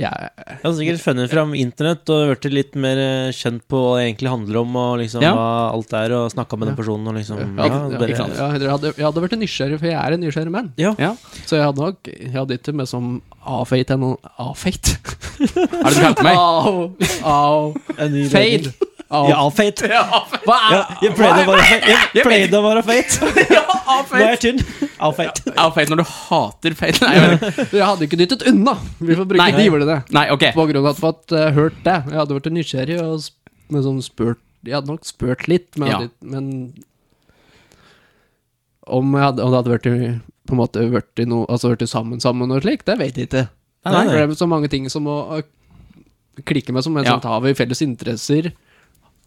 S2: Jeg hadde sikkert funnet fram internett og blitt litt mer eh, kjent på hva det egentlig handler om, og liksom
S1: Ja.
S2: hva alt er, og snakka med den personen og liksom
S4: Ja, ja,
S2: bare-
S4: ikke sant? Ja, jeg hadde, jeg hadde vært en nysgjerrig, for jeg er en nysgjerrig mann.
S2: Ja.
S1: Ja.
S4: Så jeg hadde nok Jeg hadde ikke med som avfeit enn Avfeit?
S1: Er det du kalte meg?
S4: Au, au,
S2: En ny
S4: fade.
S2: legning.
S4: Au.
S2: Ja, feit.
S4: Hva er
S2: Ja, jeg pleide å være feit. Jeg pleide å være feit. Nå er
S1: Avfeit.
S2: jeg tynn. Avfeit.
S1: Avfeit når du hater feit. Nei, jeg mener-
S4: Jeg hadde ikke dyttet unna. Vi får bruke
S1: Nei.
S4: de ordene.
S1: nei ok.
S4: eh, På grunn av at jeg hadde hørt det. Jeg hadde vært nysgjerrig og sp- liksom spurt Jeg hadde nok spurt litt, men, jeg
S1: Ja.
S4: hadde, men om, jeg hadde, om det hadde vært i- på en måte vært i noe, altså vært i sammen sammen og slik, det vet jeg ikke.
S2: Nei, nei,
S4: For
S2: nei.
S4: det er så mange ting som må å klikke med, som, men
S1: Ja.
S4: sånt har vi felles interesser.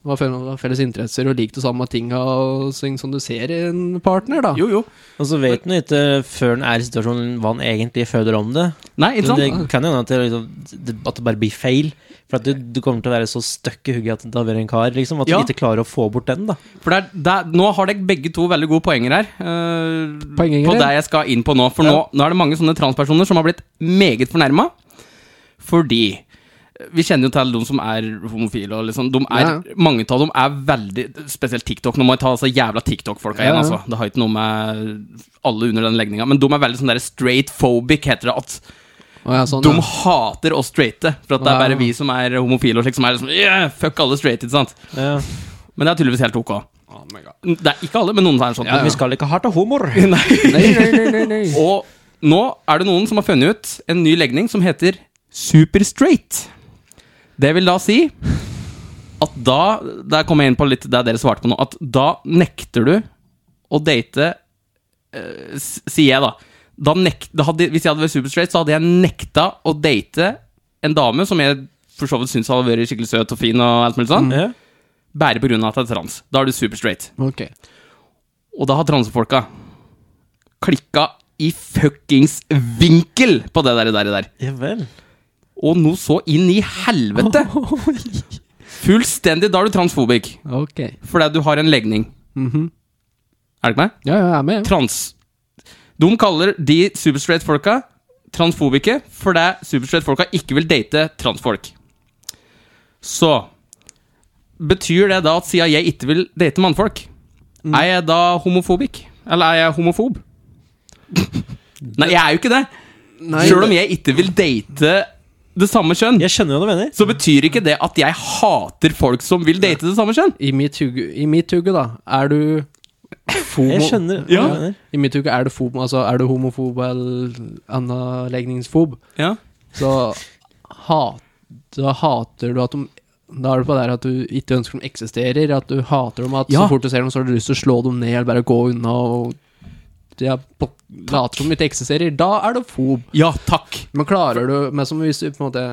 S4: Hva føler man har felles interesser og liker de samme tinga og ting som du ser i en partner, da.
S1: Jo, jo.
S2: Og så vet man jo ikke før den er i situasjonen hva han egentlig føler om det.
S1: Nei, ikke
S2: Det
S1: sant?
S2: kan jo hende at det, liksom, det- at det bare blir feil. For at du, du kommer til å være så støkk i hugget at det har vært en kar, liksom. At
S1: Ja.
S2: du ikke klarer å få bort den, da.
S1: For det er, det er, nå har dere begge to veldig gode poenger her. eh,
S4: Poengengere.
S1: på det jeg skal inn på nå. For nå, nå er det mange sånne transpersoner som har blitt meget fornærma. Fordi vi kjenner jo til de som er homofile. Og liksom, de er,
S4: Ja,
S1: Mange av dem er veldig Spesielt TikTok. Nå må jeg ta altså, jævla TikTok-folka
S4: Ja,
S1: igjen.
S4: ja.
S1: Altså. Det har ikke noe med alle under den legninga. Men de er veldig sånn der straight phobic, heter det. At
S4: Og jeg er sånn,
S1: de
S4: ja.
S1: hater oss straighte. For at det er
S4: Ja.
S1: bare vi som er homofile. Og slik, som er liksom, yeah, fuck alle straight, ikke sant?
S2: Ja.
S1: Men det er tydeligvis helt ok. Det er ikke alle, men noen er sånn.
S4: Ja, ja.
S2: Vi skal ikke ha til humor.
S4: Nei, nei, nei, nei, nei.
S1: Og nå er det noen som har funnet ut en ny legning som heter superstraight. Det vil da si at da Der kommer jeg inn på litt det dere svarte på nå. At da nekter du å date eh, s- Sier jeg, da. da, nek, da hadde, hvis jeg hadde vært superstraight, så hadde jeg nekta å date en dame som jeg for så vidt syns hadde vært skikkelig søt og fin, og alt mulig sånn,
S2: Ja.
S1: bare på grunn av at jeg er trans. Da er du superstraight.
S4: Ok.
S1: Og da har transefolka klikka i fuckings vinkel på det der, der, der.
S2: Ja vel.
S1: Og noe så inn i helvete! Fullstendig. Da er du transfobik.
S4: Ok.
S1: Fordi du har en legning.
S4: Mhm.
S1: Er du ikke meg?
S4: Ja, ja, jeg er med.
S1: Trans. De kaller de superstraight-folka transfobike fordi superstraight-folka ikke vil date transfolk. Så Betyr det da at siden jeg ikke vil date mannfolk, er jeg da homofobik? Eller er jeg homofob? Nei, jeg er jo ikke det.
S4: Nei,
S1: Selv om jeg ikke vil date det samme kjønn,
S2: Jeg skjønner jo hva du mener.
S1: så betyr ikke det at jeg hater folk som vil date det samme kjønn.
S4: I mitt hugge, i mitt hugge da, er du fomo...
S2: Jeg skjønner hva
S1: Ja.
S2: du mener.
S4: I mitt hugge er du fomo, altså er du homofob eller anlegningsfob,
S1: Ja.
S4: så hat, da hater du at de da er det på der at du ikke ønsker de eksisterer, at du hater dem, at
S1: Ja.
S4: så fort du ser dem, så har du lyst til å slå dem ned, eller bare gå unna og ja, på, later som de ikke eksisterer. Da er du fob.
S1: ja, takk.
S4: Men klarer du Men som hvis du på en måte,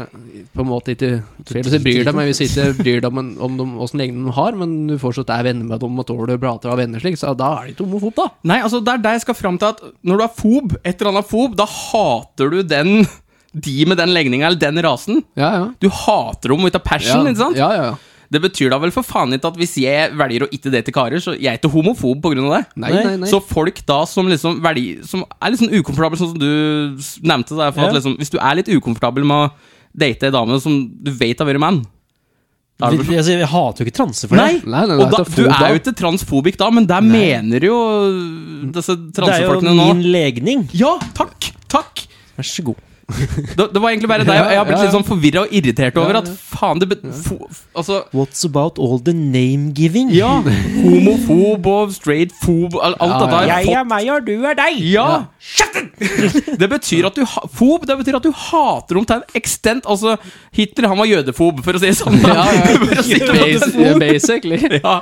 S4: på en måte ikke Hvis du bryr deg, men hvis du ikke bryr deg om, en- om de, hvordan legning de har, men du fortsatt er venner med dem og tåler prater av venner slik, så da er de ikke homofob, da.
S1: Nei, altså det er der jeg skal fram til at når du er fob, et eller annet fob, da hater du den de med den legninga eller den rasen.
S4: Ja, ja.
S1: Du hater dem ut av passion, ikke sant?
S4: Ja, ja, ja.
S1: Det betyr da vel for faen ikke at hvis jeg velger å ikke date karer, så jeg er ikke homofob på grunn av det.
S4: Nei, nei, nei.
S1: Så folk da som liksom velger Som er litt sånn ukomfortable, sånn som du s- nevnte der, for at
S2: Ja.
S1: liksom, hvis du er litt ukomfortabel med å date ei dame som du vet har vært mann da er det
S2: Jeg,
S1: vel-
S2: jeg, altså, jeg hater jo ikke transe for det.
S1: Nei!
S4: Nei, nei,
S1: og
S4: det
S1: da,
S4: er
S1: du
S4: fob, da.
S1: er jo ikke transfobik da, men det mener jo disse
S2: Det er jo
S1: transefolkene nå.
S2: min legning.
S1: Ja, takk! Takk!
S2: Vær så god.
S1: Det, det var egentlig bare det. Jeg, jeg har blitt
S4: Ja, ja, ja.
S1: litt sånn forvirra og irritert over
S4: Ja,
S1: at faen, det bet- fo- f- Altså
S2: What's about all the name-giving?
S1: Ja! Homofob og straightfob al- Alt
S4: Ja,
S1: dette har jeg fått.
S2: meg, og du er deg!
S1: Ja! Det betyr at du ha- Fob, det betyr at du hater dem til en extent. Altså, Hitler, han var jødefob, for å si det sånn.
S4: Ja, ja.
S1: For å si det på
S4: Bas-
S1: den måten.
S4: Basically.
S1: ja.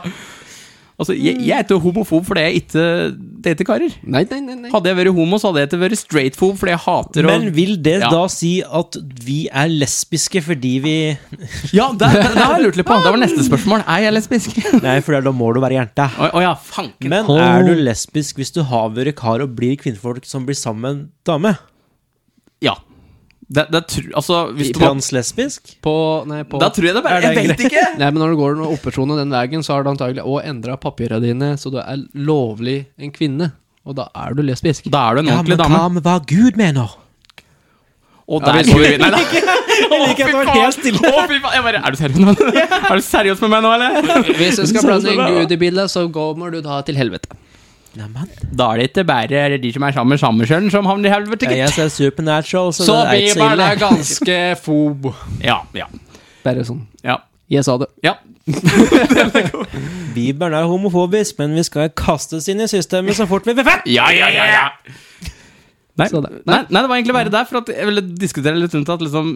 S1: Altså, jeg, jeg er ikke homofob fordi jeg ikke dater karer.
S4: Nei, nei, nei. nei.
S1: Hadde jeg vært homo, så hadde jeg ikke vært straightfob fordi jeg hater å
S2: Men vil det
S1: Ja.
S2: da si at vi er lesbiske fordi vi
S1: Ja, det, det, det har jeg lurt litt på. Det var neste spørsmål. Er jeg lesbisk?
S2: Nei, for da må du være jente.
S1: Å å ja, fanken.
S2: Men er du lesbisk hvis du har vært kar og blir kvinnfolk som blir sammen med en dame?
S1: Ja. Det, det tru, altså, hvis du må,
S2: Translesbisk?
S4: På, nei, på
S1: Da tror jeg det
S2: Er
S1: bare
S2: det
S1: Jeg vet ikke!
S4: Nei, men når du går den operasjonen den veien, så har du antagelig òg endra papirene dine, så du er lovlig en kvinne. Og da er du lesbisk.
S1: Da er du en ordentlig dame.
S2: med hva Gud mener?
S1: Og
S4: Ja,
S1: der
S4: vi-
S1: går vi Nei, da.
S2: Jeg liker at det var helt stille.
S1: Å, fy faen. Jeg bare Er du seriøs med meg? Er du seriøs med meg nå, eller?
S4: Hvis du skal blande inn Gud i bildet, så kommer du da til helvete.
S2: Neimen,
S1: Da er det ikke bare de som er sammen med Samersjøen, som havner i helvete,
S2: jeg ser Supernatural, så,
S4: Så
S2: det er ikke så
S4: Bibelen
S2: ille.
S4: er ganske fob.
S1: Ja, ja.
S4: Bare sånn.
S1: Ja.
S4: Jeg sa det.
S1: ja.
S2: Bibelen er homofobisk, men vi skal kastes inn i systemet så fort vi blir født!
S1: Ja, ja, ja, ja. Nei.
S4: Så
S1: Nei.
S4: det-
S1: Nei, det var egentlig bare der, for at jeg ville diskutere litt rundt at liksom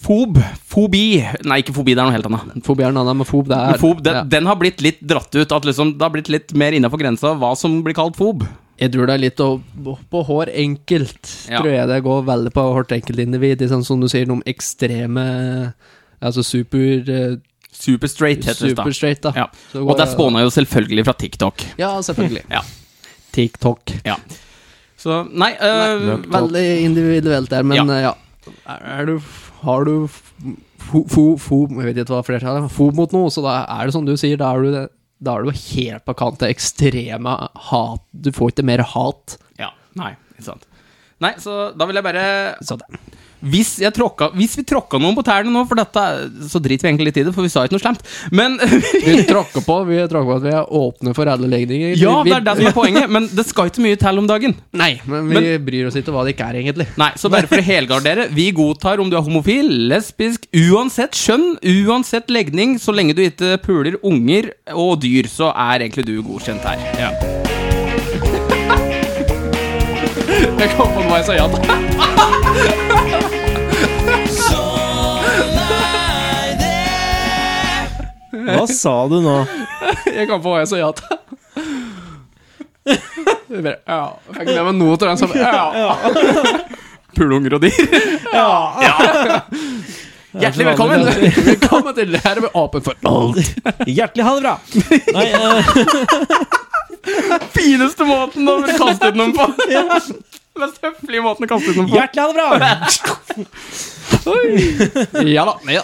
S1: Fob. Fobi. Nei, ikke fobi, det er noe helt annet.
S4: Fobi er en annen, men fob det
S1: Men
S4: er
S1: fob, den,
S4: ja.
S1: den har blitt litt dratt ut. At liksom, det har blitt litt mer innafor grensa hva som blir kalt fob.
S4: Jeg tror det er litt å, på hår enkelt.
S1: Ja.
S4: Tror jeg det går veldig på hvert enkeltindivid. i Sånn, som du sier, noen ekstreme Altså super eh,
S1: Superstraight heter det. da.
S4: Super straight, da.
S1: Ja.
S4: Så
S1: Og
S4: går
S1: det
S4: jeg-
S1: spåna jo selvfølgelig fra TikTok.
S4: Ja, selvfølgelig.
S1: Ja.
S4: TikTok.
S1: Ja. Så Nei, øh, vel,
S4: Veldig individuelt der, men
S1: Ja.
S4: eh, ja. Er, er du, har du f- fo, fo, fo, jeg vet ikke hva flertallet er, fo mot noe, så da er det som du sier, da er du, det- da er du helt på kant til ekstreme hat. Du får ikke mer hat.
S1: ja, nei, ikke sant. Nei, så da vil jeg bare
S4: Så det.
S1: Hvis, jeg tråkka, hvis vi tråkka noen på tærne nå, for dette så driter vi egentlig litt i det, for vi sa ikke noe slemt. Men
S4: Vi tråkker på, vi tråkker på at vi er åpne for alle legninger.
S1: Ja,
S4: vi,
S1: det er det som er poenget, men det skal ikke mye til om dagen.
S4: Nei, men vi bryr oss ikke hva det ikke er, egentlig.
S1: Nei, Så bare for å helgardere, vi godtar om du er homofil, lesbisk, uansett kjønn, uansett legning, så lenge du ikke puler unger og dyr, så er egentlig du godkjent her. Ja. Jeg kom på noe jeg sa ja til.
S2: Hva sa du nå?
S4: Jeg kom på hva jeg sa ja til. Jeg bare, Ja, fikk med meg noe til den som ja.
S1: Pule unger og dyr. Hjertelig velkommen.
S4: Velkommen til det her er vi åpen for alt.
S2: Hjertelig ha det bra! Nei, eh,
S1: Fineste måten å kaste ut noen på. Mest høflige måten å kaste ut noen på.
S2: hjertelig ha det bra!
S4: Ja da. Ja.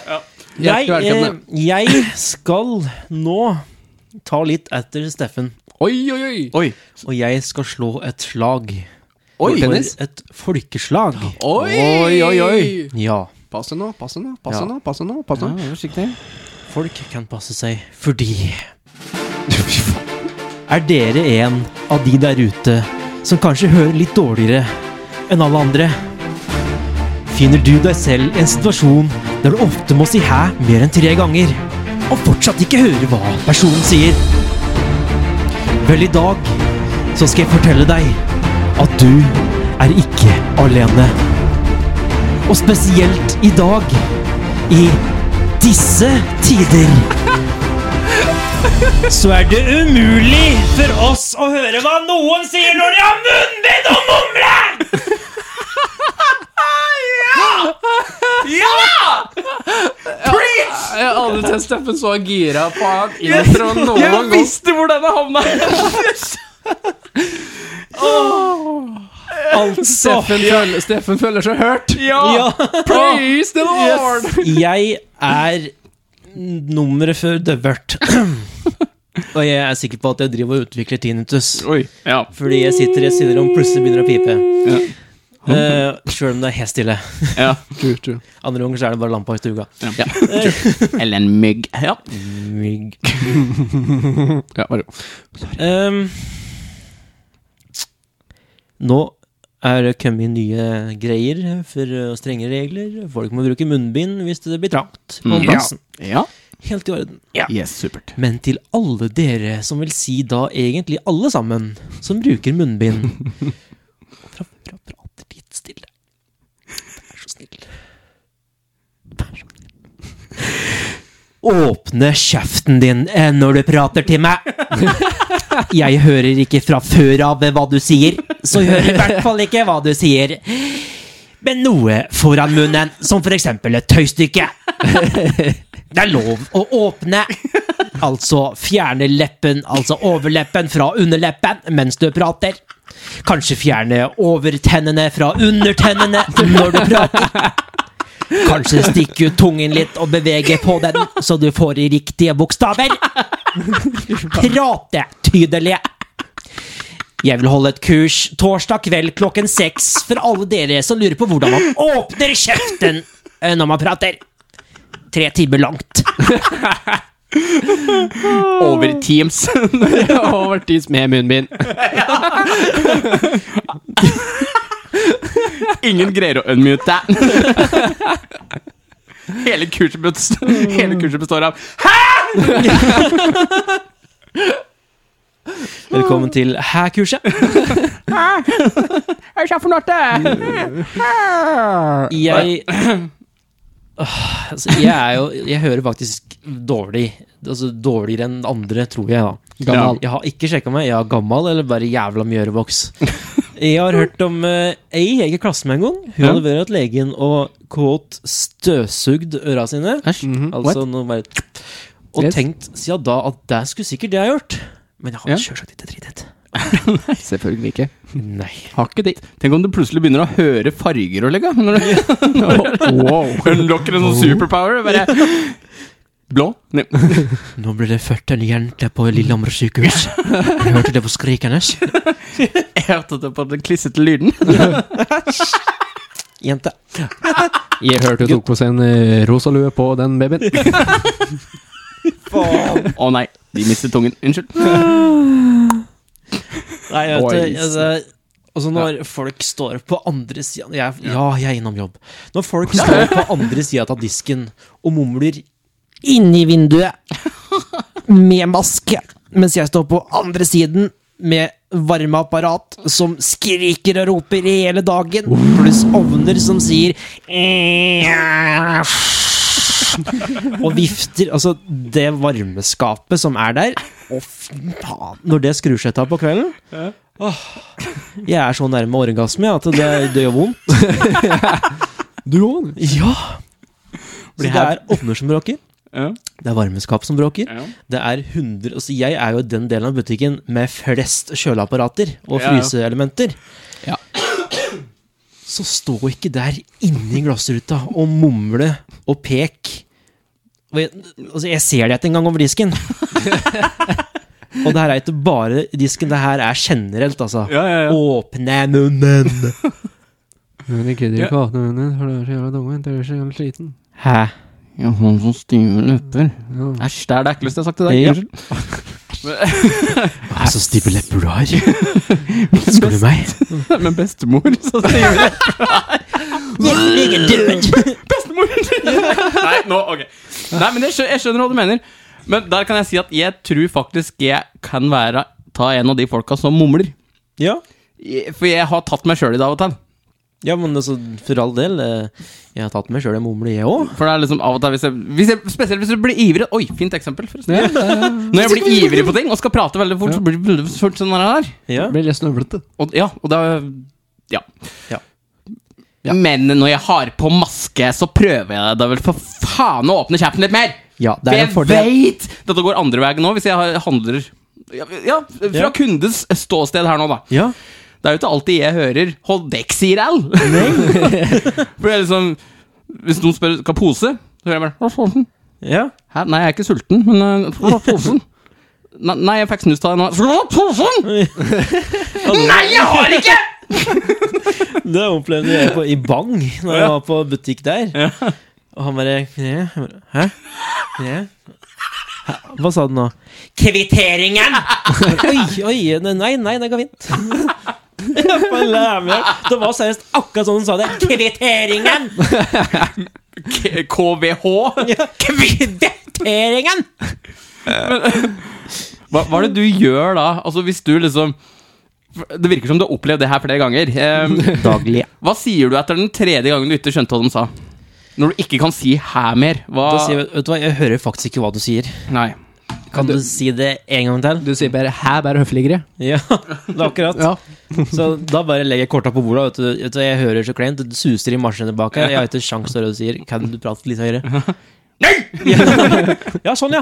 S4: Hjertelig
S2: Jeg, eh,
S4: velkommen.
S2: jeg skal nå ta litt etter Steffen,
S4: Oi, oi, oi.
S1: Oi.
S2: og jeg skal slå et slag.
S1: Oi.
S2: For Et folkeslag.
S4: Oi, oi, oi.
S2: Ja.
S4: Passe nå, passe nå,
S2: Ja.
S4: passe nå, passe nå. passe nå.
S1: Forsiktig.
S2: Folk kan passe seg fordi Er dere en av de der ute som kanskje hører litt dårligere enn alle andre? Finner du deg selv i en situasjon der du ofte må si hæ mer enn tre ganger, og fortsatt ikke hører hva personen sier? Vel, i dag så skal jeg fortelle deg at du er ikke alene. Og spesielt i dag, i disse tider så er det umulig for oss å høre hva noen sier når de har munnbind og mumler!
S4: Jeg har aldri sett Steffen så gira på en intro noen
S1: Jeg
S4: gang.
S1: visste hvor denne havna!
S2: Altså
S4: Steffen, føler, Steffen føler seg hørt.
S1: Ja.
S4: Praise the Lord!
S2: Jeg er nummeret for døvert. Og jeg er sikker på at jeg driver og utvikler tinnitus.
S1: Oi. Ja.
S2: Fordi jeg sitter i et stillerom, plutselig begynner det å pipe. Uh, Sjøl om det er helt stille.
S1: ja.
S4: True, true.
S2: Andre ganger så er det bare lampa i stuga.
S1: Eller en mygg. Ja.
S2: Mygg.
S4: Ja, bare
S2: Ehm, nå er det kommet nye greier for eh, strenge regler. Folk må bruke munnbind hvis det blir trangt på
S1: Mm.
S2: plassen.
S1: ja.
S2: Helt i orden.
S1: Yes, supert.
S2: Men til alle dere som vil si da egentlig alle sammen, som bruker munnbind Fra før av prater litt stille. Vær så snill. Vær så snill. Åpne kjeften din eh, når du prater til meg! Jeg hører ikke fra før av hva du sier, så jeg hører i hvert fall ikke hva du sier. Men noe foran munnen, som for eksempel et tøystykke. Det er lov å åpne. Altså fjerne leppen, altså overleppen fra underleppen mens du prater. Kanskje fjerne overtennene fra undertennene når du prater. Kanskje stikke ut tungen litt og bevege på den, så du får i riktige bokstaver. Prate tydelig. Jeg vil holde et kurs torsdag kveld klokken seks for alle dere som lurer på hvordan man åpner kjeften eh, når man prater tre timer langt.
S1: Over Teams.
S4: Over tids med munnbind.
S1: Ingen greier å unmute deg. Hele kurset, består, hele kurset består av
S2: Velkommen til Hæ-kurset.
S1: Hva er det for noe?
S2: Jeg Åh, altså, Jeg er jo Jeg hører faktisk dårlig. Altså dårligere enn andre, tror jeg, da.
S4: Gammal.
S2: Jeg har ikke sjekka meg. Jeg er gammel eller bare jævla mjørevoks. Jeg har hørt om eh, ei jeg gikk i klasse med en gang. Hun
S1: Ja.
S2: hadde vært hos legen og kåt støvsugd øra sine.
S1: Æsj.
S2: Altså noe bare Og
S4: Yes.
S2: tenkt siden da at det skulle sikkert det jeg har gjort. Men jeg har
S1: Ja.
S2: sjølsagt ikke dritt.
S4: Selvfølgelig ikke.
S2: Nei.
S4: Har ikke det.
S1: Tenk om du plutselig begynner å høre farger og legge. Når du
S4: Wow.
S1: unlocker en sånn superpower. Bare blå. Nei.
S2: Nå ble det født en jente på Lillehammer sykehus. Jeg hørte det på skriket hennes.
S1: Jeg hørte det på den klissete lyden.
S2: Jente.
S4: Jeg hørte du tok på seg en eh, rosa lue på den babyen.
S1: Å nei, de mistet tungen. Unnskyld.
S2: Nei, jeg vet
S1: Oi.
S2: det. Altså, altså når folk står på andre sida Ja, jeg er innom jobb. Når folk står på andre sida av disken og mumler inni vinduet med maske, mens jeg står på andre siden med varmeapparat som skriker og roper hele dagen, pluss ovner som sier Og vifter. Altså, det varmeskapet som er der Å, fy faen. Når det skrur seg av på kvelden åh, Jeg er så nærme orgasme jeg, at det, det gjør vondt.
S4: Du òg?
S2: Ja! Så
S1: Blir
S2: det
S1: her-
S2: er ovner som bråker.
S1: Ja.
S2: Det er varmeskap som bråker.
S1: Ja.
S2: Det er 100 altså Jeg er jo den delen av butikken med flest kjøleapparater og
S1: Ja, ja.
S2: fryseelementer.
S4: Ja.
S2: Så stå ikke der inni glassruta og mumle og pek. Og jeg, altså, jeg ser deg ikke engang over disken. og det her er ikke bare disken, det her er generelt, altså.
S1: Ja, ja, ja.
S2: Åpne munnen!
S4: Men jeg gidder ikke å åpne munnen, for du er så jævla dungen. Du er så jævla sliten.
S2: Hæ?
S1: Jeg har sånn stive lepper.
S4: Ja.
S1: Æsj, det er det ekleste jeg har sagt til deg.
S2: Ja.
S1: Unnskyld.
S2: Hva er så stive lepper du har? Elsker du meg?
S1: Men bestemor, så stive lepper.
S2: Jeg ligger død!
S1: Nei, nå, ok. Nei, men jeg skjønner, jeg skjønner hva du mener. Men der kan jeg si at jeg tror faktisk jeg kan være ta en av de folka som mumler.
S2: Ja.
S1: Jeg- For jeg har tatt meg sjøl i det av og til.
S2: Ja, men altså, for all del. eh, Jeg har tatt meg sjøl en mumle, jeg òg.
S1: For det er liksom av og til hvis jeg, hvis jeg Spesielt hvis du blir ivrig. Oi, fint eksempel, forresten.
S4: Ja, det er-
S1: Når jeg blir ivrig på ting og skal prate veldig fort, så blir det veldig fort sånn her.
S2: Ja.
S4: det blir litt snøvlete.
S1: Og, ja, og da ja.
S2: Ja.
S1: Ja. Men når jeg har på maske, så prøver jeg da vel for faen å åpne kjeften litt mer!
S2: ja, det er en
S1: for
S2: fordel.
S1: jeg veit dette går andre veien nå, hvis jeg har- handler ja, ja, fra
S2: Ja.
S1: kundes ståsted her nå, da.
S2: Ja.
S1: Det er jo ikke alltid jeg hører 'hold dekk, sier Al'. For det er liksom Hvis noen spør skal pose, så hører jeg bare «Hva faen?»
S2: ja.
S1: Hæ? Nei, jeg er ikke sulten, men eh, få ta posen. Nei, nei, jeg fikk snust av deg nå. Få ta posen! Nei, jeg har ikke!
S2: Det opplevde jeg på, i Bang, når jeg var på butikk der. Og han bare «Kne?» Jeg bare, Hæ? Kne?» Hæ? Hva sa du nå? Kvitteringen! oi, oi, nei, nei, det ga fint. Jeg får lære meg. det var seriøst akkurat sånn hun sa det. Kvitteringen!
S1: K- KVH?
S2: Kvitteringen!
S1: Hva, hva er det du gjør da? Altså, hvis du liksom Det virker som du har opplevd det her flere ganger. Eh,
S2: Daglig.
S1: hva sier du etter den tredje gangen du ikke skjønte hva de sa? Når du ikke kan si 'hæ' mer? Hva
S2: Da sier, jeg, vet du hva, jeg hører faktisk ikke hva du sier.
S1: Nei.
S2: Kan du si det en gang til?
S4: Du sier bare 'hæ', bare høfligere.
S2: Ja, det er akkurat.
S4: Ja.
S2: Så da bare legger jeg korta på bordet. Vet du, vet du, jeg hører så kleint, det suser i marsjene bak her. Jeg har ikke sjans til å høre hva du sier. Kan du prate litt høyere? Nei! ja, sånn, ja.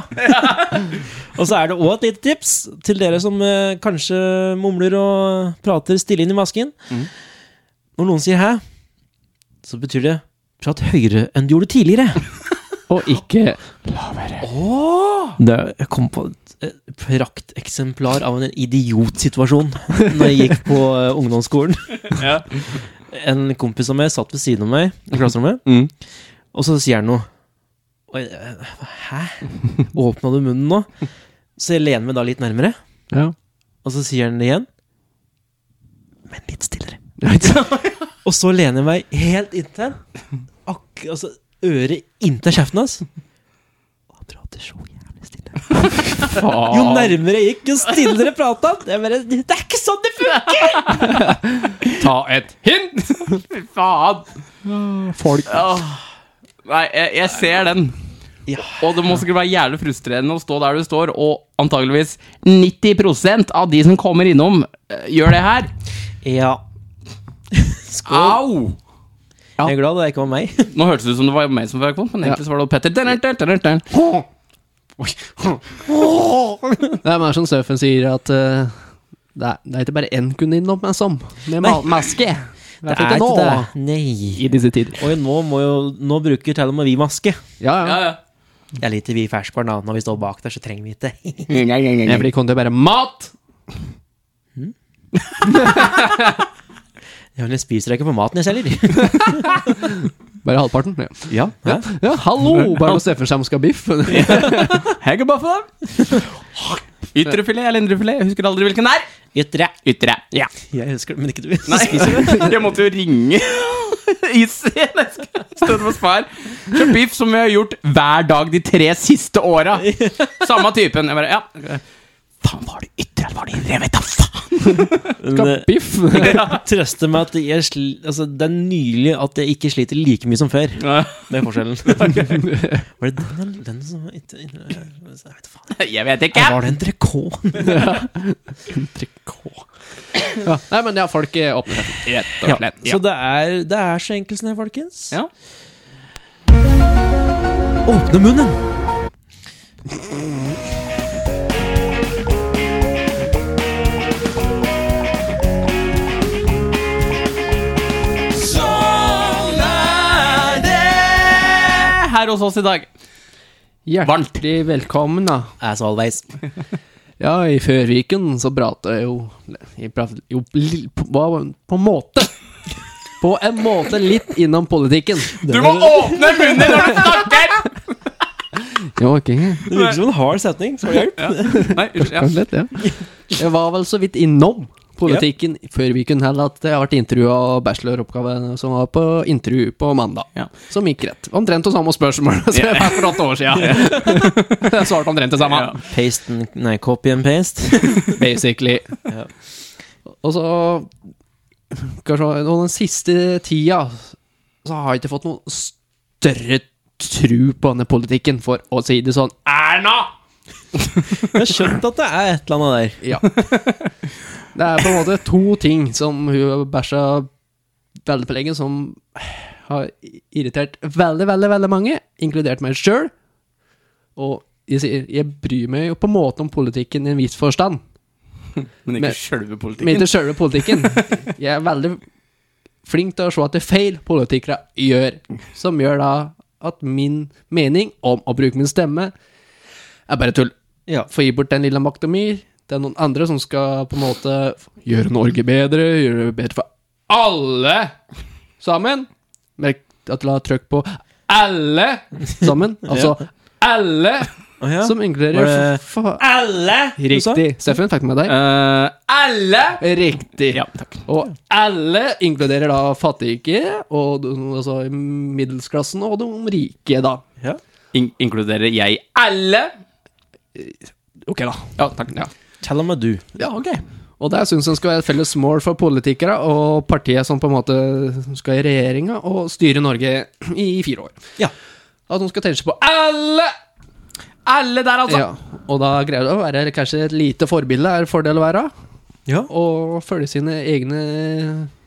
S2: Og så er det òg et lite tips til dere som eh, kanskje mumler og prater stille inn i masken. Når noen sier 'hæ', så betyr det 'prat høyere enn du gjorde tidligere'.
S4: Og ikke
S2: Det, jeg kom på et- et prakteksemplar av en idiotsituasjon Når jeg gikk på eh, ungdomsskolen. En kompis av meg satt ved siden av meg i klasserommet,
S1: Mm.
S2: og så sier han noe. Og jeg, eh, Hæ? Åpna du munnen nå? Så jeg lener meg da litt nærmere,
S4: Ja.
S2: og så sier han det igjen. Men litt stillere. og så lener jeg meg helt inntil ak- altså, øret inntil kjeften hans. Og han prater så jævlig stille. Jo nærmere jeg gikk, jo stillere prata han. Jeg bare, Det er ikke sånn det funker!
S1: Ta et hint! Fy faen.
S4: Folk.
S1: Nei, jeg, jeg ser den.
S2: Ja.
S1: Og det må sikkert være jævlig frustrerende å stå der du står, og antageligvis 90 av de som kommer innom, eh, gjør det her.
S2: Ja. Skål.
S1: Au!
S2: Jeg er glad det ikke var meg.
S1: Nå hørtes det ut som det var meg som var på, men egentlig så var det Petter. Dun, dun, dun, dun, dun.
S4: Det er mer som Støffen sier, at eh, det, er, det er ikke bare én kunne innom meg som. Med
S2: Nei.
S4: ma- maske. I hvert fall ikke nå.
S2: Nei.
S4: I disse tider.
S2: Oi, nå, må jo, nå bruker til og med vi maske.
S4: Ja, ja.
S1: Ja, ja.
S2: Det er litt vi i ferskbarn, da. Når vi står bak der, så trenger vi ikke det.
S4: Jeg blir kom til bare mat!
S2: Ja, men Jeg spiser ikke på maten jeg selger.
S4: Bare halvparten. Ja,
S2: Ja, ja.
S4: ja hallo! Bare når Steffen kommer og skal ha biff.
S1: Heggebaffe, da. Ytrefilet eller indrefilet? Jeg husker aldri hvilken det er.
S2: Ytre.
S1: Ytre. Ja.
S2: Jeg husker det, men ikke du.
S1: Jeg måtte jo ringe Easy Støtte hos far. Kjøpt biff som vi har gjort hver dag de tre siste åra. Samme typen. Jeg bare, ja Faen, var det ytre eller var det indre? Jeg vet da faen!
S4: Skal ha biff.
S2: Jeg kan trøste eh, meg at jeg sli, altså, det er nylig at jeg ikke sliter like mye som før. Det er forskjellen. Var det den, eller den som var ikke- Jeg vet faen.
S1: Jeg vet ikke.
S2: Var det en drekon?
S4: Ja. Nei, men ja, folk eh, åpner seg.
S1: Rett og
S2: Ja.
S1: slett.
S2: Så det er, det er så enkelt som det, folkens.
S1: Ja.
S2: Åpne munnen!
S1: Sånn er det her hos oss i dag.
S4: Hjertelig velkommen, da.
S2: As always.
S4: Ja, i Førviken så prata jeg jo Jeg pratet jo li- på, hva- på en måte. På en måte litt innom politikken.
S1: Du må åpne munnen din når du snakker!
S4: Jo, ok.
S2: Det virker som en hard setning. Skal jeg hjelpe?
S1: Nei, unnskyld. Ja.
S4: Kanskje litt, ja. Jeg var vel så vidt innom politikken før vi kunne helle at jeg har vært intervjua av bacheloroppgaven som var på intervju på mandag.
S1: Ja.
S4: Som gikk rett. Omtrent det samme spørsmålet som jeg fikk for åtte år siden. Jeg svarte omtrent det samme.
S1: Ja.
S2: Paste and, nei, copy and paste.
S4: Basically. Og så Kanskje og den siste tida så har jeg ikke fått noen større tru på denne politikken, for å si det sånn.
S1: Erna!
S2: Jeg har skjønt at det er et eller annet der.
S4: Ja. Det er på en måte to ting som hun bæsja veldig på lenge, som har irritert veldig, veldig veldig mange, inkludert meg sjøl. Og jeg, sier, jeg bryr meg jo på en måte om politikken i en viss forstand,
S1: Men
S4: Men-
S1: ikke sjølve
S4: men
S1: politikken.
S4: ikke sjølve politikken. Jeg er veldig flink til å se at det er feil politikere gjør, som gjør da at min mening om å bruke min stemme er bare tull
S2: Ja.
S4: få gi bort den lille makta mi Det er noen andre som skal på en måte gjøre Norge bedre, gjøre det bedre for alle sammen. Merk at la trykk på alle sammen. Altså alle
S2: Å ja.
S4: som inkluderer
S2: Var det-
S4: f- fa-
S2: Alle! du sa?
S4: Riktig. Steffen, fikk du med deg?
S1: Eh, alle!
S4: Riktig.
S1: Ja, takk.
S4: Og alle inkluderer da fattige, og de, altså middelsklassen, og de rike, da.
S2: Ja.
S1: In inkluderer jeg alle?
S4: Ok, da.
S1: Ja, takk. Ja,
S2: Tell meg du.
S1: ok.
S4: Og der syns han skal være et felles mål for politikere og partiet som på en måte skal i regjeringa og styre Norge i fire år.
S2: Ja.
S4: At de skal tenke på alle!
S1: Alle der, altså.
S4: Ja, og da greier det å være kanskje et lite forbilde er en fordel å være.
S2: Ja.
S4: Og følge sine egne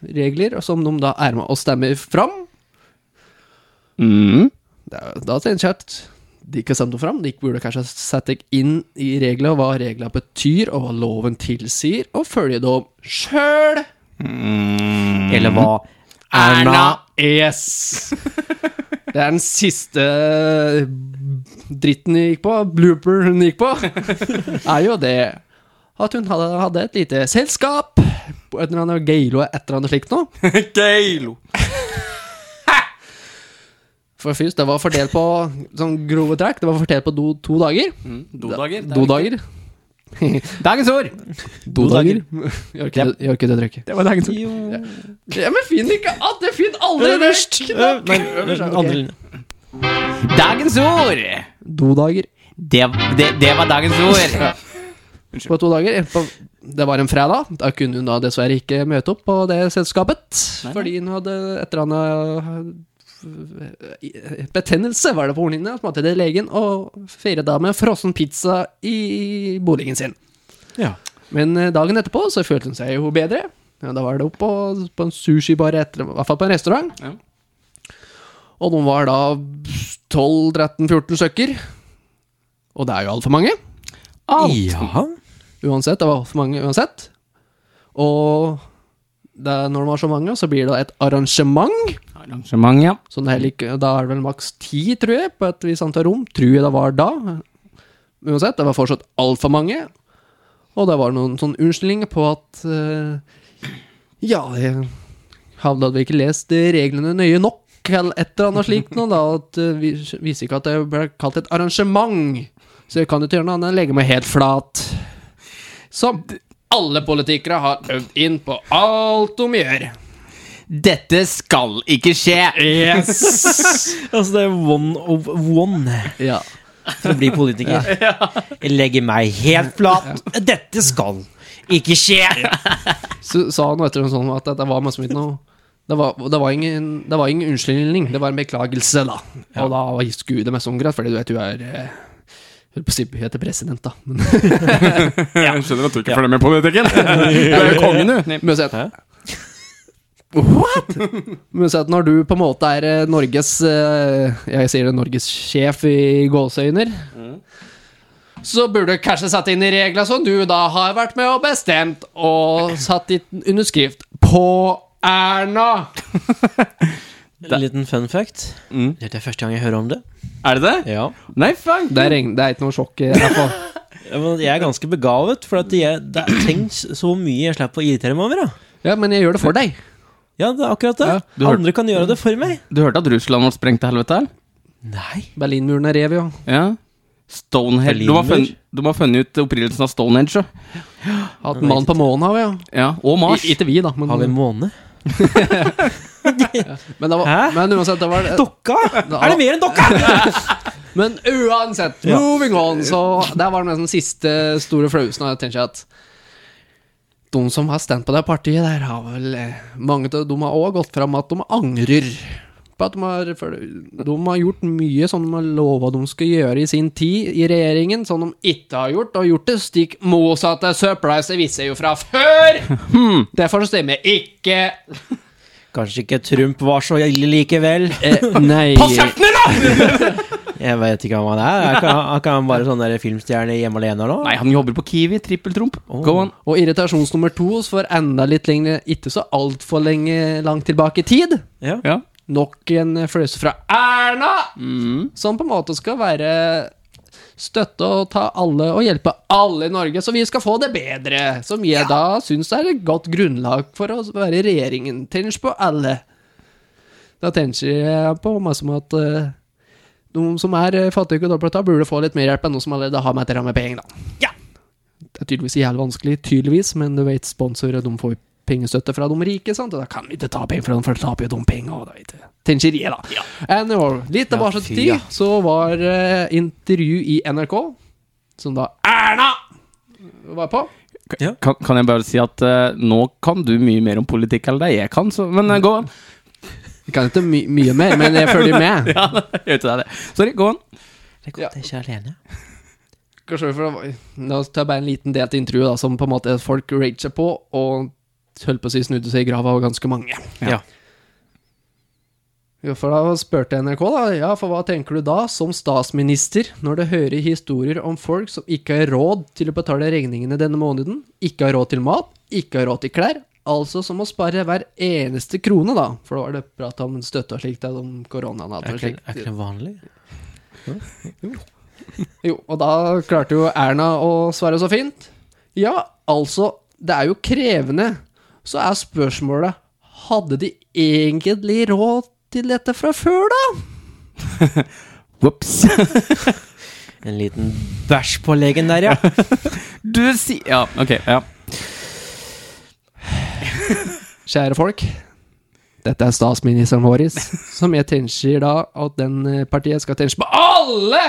S4: regler, og som de da er med og stemmer fram.
S1: Mm.
S4: Da da tenker jeg at de ikke stemte fram. De burde kanskje sette deg inn i reglene, hva reglene betyr, og hva loven tilsier, og følge dem sjøl.
S2: Eller hva?
S1: Erna.
S4: Yes! Det er den siste eh, dritten hun gikk på, blooper hun gikk på, er jo det at hun hadde, hadde et lite selskap på et eller annet Geilo et eller annet slikt noe.
S1: Geilo.
S4: For først, det var fordelt på sånn grove trekk, det var fordelt på do, to dager.
S1: Mm. Dodager. det er
S4: Dodager.
S1: viktig. Dagens ord!
S4: Dodager. Gjør ikke det, gjør ikke det trykket.
S1: Det var dagens
S2: Jo.
S4: Ja, men finn ikke at det finn aldri
S2: Øverst! Ø- Nei, ø- andre linje.
S1: Dagens ord!
S4: Dodager.
S1: Det, det, det var dagens ord.
S4: På to dager. Eh, På, det var en fredag. Da kunne hun da dessverre ikke møte opp på det selskapet. Fordi hun hadde et eller annet eh, Betennelse var det på hornhinnene. Hun måtte til legen og fire da med frossen pizza i boligen sin.
S2: Ja.
S4: Men eh, dagen etterpå så følte hun seg jo bedre. Ja, da var det opp på, på en sushibar, etter, i hvert fall på en restaurant.
S1: Ja.
S4: Og de var da 12-13-14 stykker. Og det er jo altfor mange.
S2: ja.
S4: Uansett, det var for mange uansett. Og det, er- når det var så mange, så blir det et arrangement.
S1: Arrangement, ja.
S4: Så det er heller ikke, da er det vel maks ti, tror jeg, på et visst antall rom. Tror jeg det var da. Uansett, det var fortsatt altfor mange. Og det var noen sånne unnskyldninger på at eh, Ja, jeg hadde vi ikke lest reglene nøye nok, eller et eller annet slikt noe, da. At eh, vi viser ikke at det ble kalt et arrangement. Så jeg kan ikke gjøre noe annet enn å legge meg helt flat. Som alle politikere har øvd inn på alt de gjør.
S1: Dette skal ikke skje!
S2: altså, det er one of one
S4: Ja.
S2: for å bli politiker. Jeg legger meg helt flat. Dette skal ikke skje!
S4: Så sa han etter en sånn at det var masse mitt nå. Det var, det, var ingen, det var ingen unnskyldning, det var en beklagelse, da. Og da var skulle det mest omgreit, fordi du vet du er eh, Holdt på å si hun heter president, da. Men,
S1: Jeg skjønner at du ikke følger med på politikken. Du er jo kongen, du.
S4: men si at What?! Men si at når du på en måte er eh, Norges eh, Jeg sier det Norges sjef i gåseøyner. Så burde du kanskje satt inn i regler som du da har vært med og bestemt, og satt din underskrift på Erna!
S2: En liten fun fact. Dette er første gang jeg hører om det.
S1: Er det det?
S2: Ja.
S1: Nei, faen.
S4: Det er, ingen- det er ikke noe sjokk. i hvert fall.
S2: Men jeg er ganske begavet, for at jeg, det trengs så mye jeg slipper å irritere meg over. Da.
S4: Ja, men jeg gjør det for deg.
S2: Ja, det er akkurat det.
S4: Ja,
S1: du hørte-
S2: Andre kan gjøre det for meg.
S1: Du hørte at Russland ble sprengt til helvete? eller?
S2: Nei.
S4: Berlinmuren er rev, jo.
S1: Ja. Stonehenge De har funnet, de har funnet ut opprinnelsen av Stonehenge. ja.
S4: At mann på månen har vi, jo.
S1: Ja, og Mars.
S4: I- Ikke vi, da. Men,
S2: Har vi en måne?
S4: men, det var,
S2: Hæ?
S4: men uansett, det var
S2: Dokka! Er det mer enn dokka?!
S4: Men uansett,
S2: Ja.
S4: moving on. Så der var det nesten siste store flausen. Og jeg tenker at de som har stemt på det partiet der, har vel eh, Mange av dem har òg gått fram at de angrer. På at de har, for de har gjort mye som de har lova de skal gjøre i sin tid i regjeringen, som de ikke har gjort, og gjort det stikk motsatte. Surprise, det visste jeg jo fra før! Derfor så stemmer jeg ikke
S2: Kanskje ikke Trump var så ille likevel.
S4: eh, Nei
S2: Jeg vet ikke om han er. Er ikke han- er ikke han bare sånn der filmstjerne hjemme alene nå?
S1: Nei, han jobber på Kiwi. Trippeltromp. Go on.
S4: Og irritasjons nummer to oss for enda litt lenger, ikke så altfor lenge langt tilbake i tid.
S2: Ja.
S1: Ja.
S4: Nok en fløyse fra Erna,
S1: Mm.
S4: som på en måte skal være støtte og ta alle og hjelpe alle i Norge, så vi skal få det bedre. Som jeg da syns er et godt grunnlag for å være i regjeringen. Tenk på alle. Da tenker jeg på masse om at eh, de som er eh, fattige og dobbelta, burde få litt mer hjelp enn noen som allerede har med til med penger, da.
S2: Ja.
S4: Det er tydeligvis jævlig vanskelig, tydeligvis, men du vet, sponsorer de får jo pengestøtte fra de rike, sant? og da kan vi ikke ta penger fra dem, for da taper jo de penger. og da vet jeg. Tenker jeg, da. Anyhow, litt tilbake til
S2: fy,
S4: tid,
S2: ja.
S4: så var eh, intervju i NRK, som da Erna var på.
S1: Kan, kan jeg bare si at eh, nå kan du mye mer om politikk enn det jeg kan, så Men eh, go on.
S4: Jeg kan ikke my mye mer, men jeg følger med.
S1: Ja, jeg vet det er det. Sorry, go on.
S2: Det er godt jeg ikke er alene.
S4: Kanskje for det var- Nå tar jeg bare en liten del til intervjuet, da, som på en måte folk rager på, og holdt på å si snudde seg i grava av ganske mange.
S2: Ja.
S4: Jo, for da spurte jeg NRK, da. Ja, for hva tenker du da, som statsminister, når du hører historier om folk som ikke har råd til å betale regningene denne måneden, ikke har råd til mat, ikke har råd til klær? Altså som å spare hver eneste krone, da. For da var det prat om støtte og slikt, da, om koronaen og alt
S2: Er
S4: og
S2: ikke,
S4: slikt.
S2: er ikke det vanlig?
S4: Jo, og da klarte jo Erna å svare så fint. Ja, altså, det er jo krevende. Så er spørsmålet Hadde de egentlig råd til dette fra før, da?
S1: Whoops.
S2: En liten bæsj på legen der, ja.
S1: Du sier Ja, ok. Ja.
S4: Kjære folk. Dette er statsministeren vår, som jeg tenker da at den eh, partiet skal tenke på alle!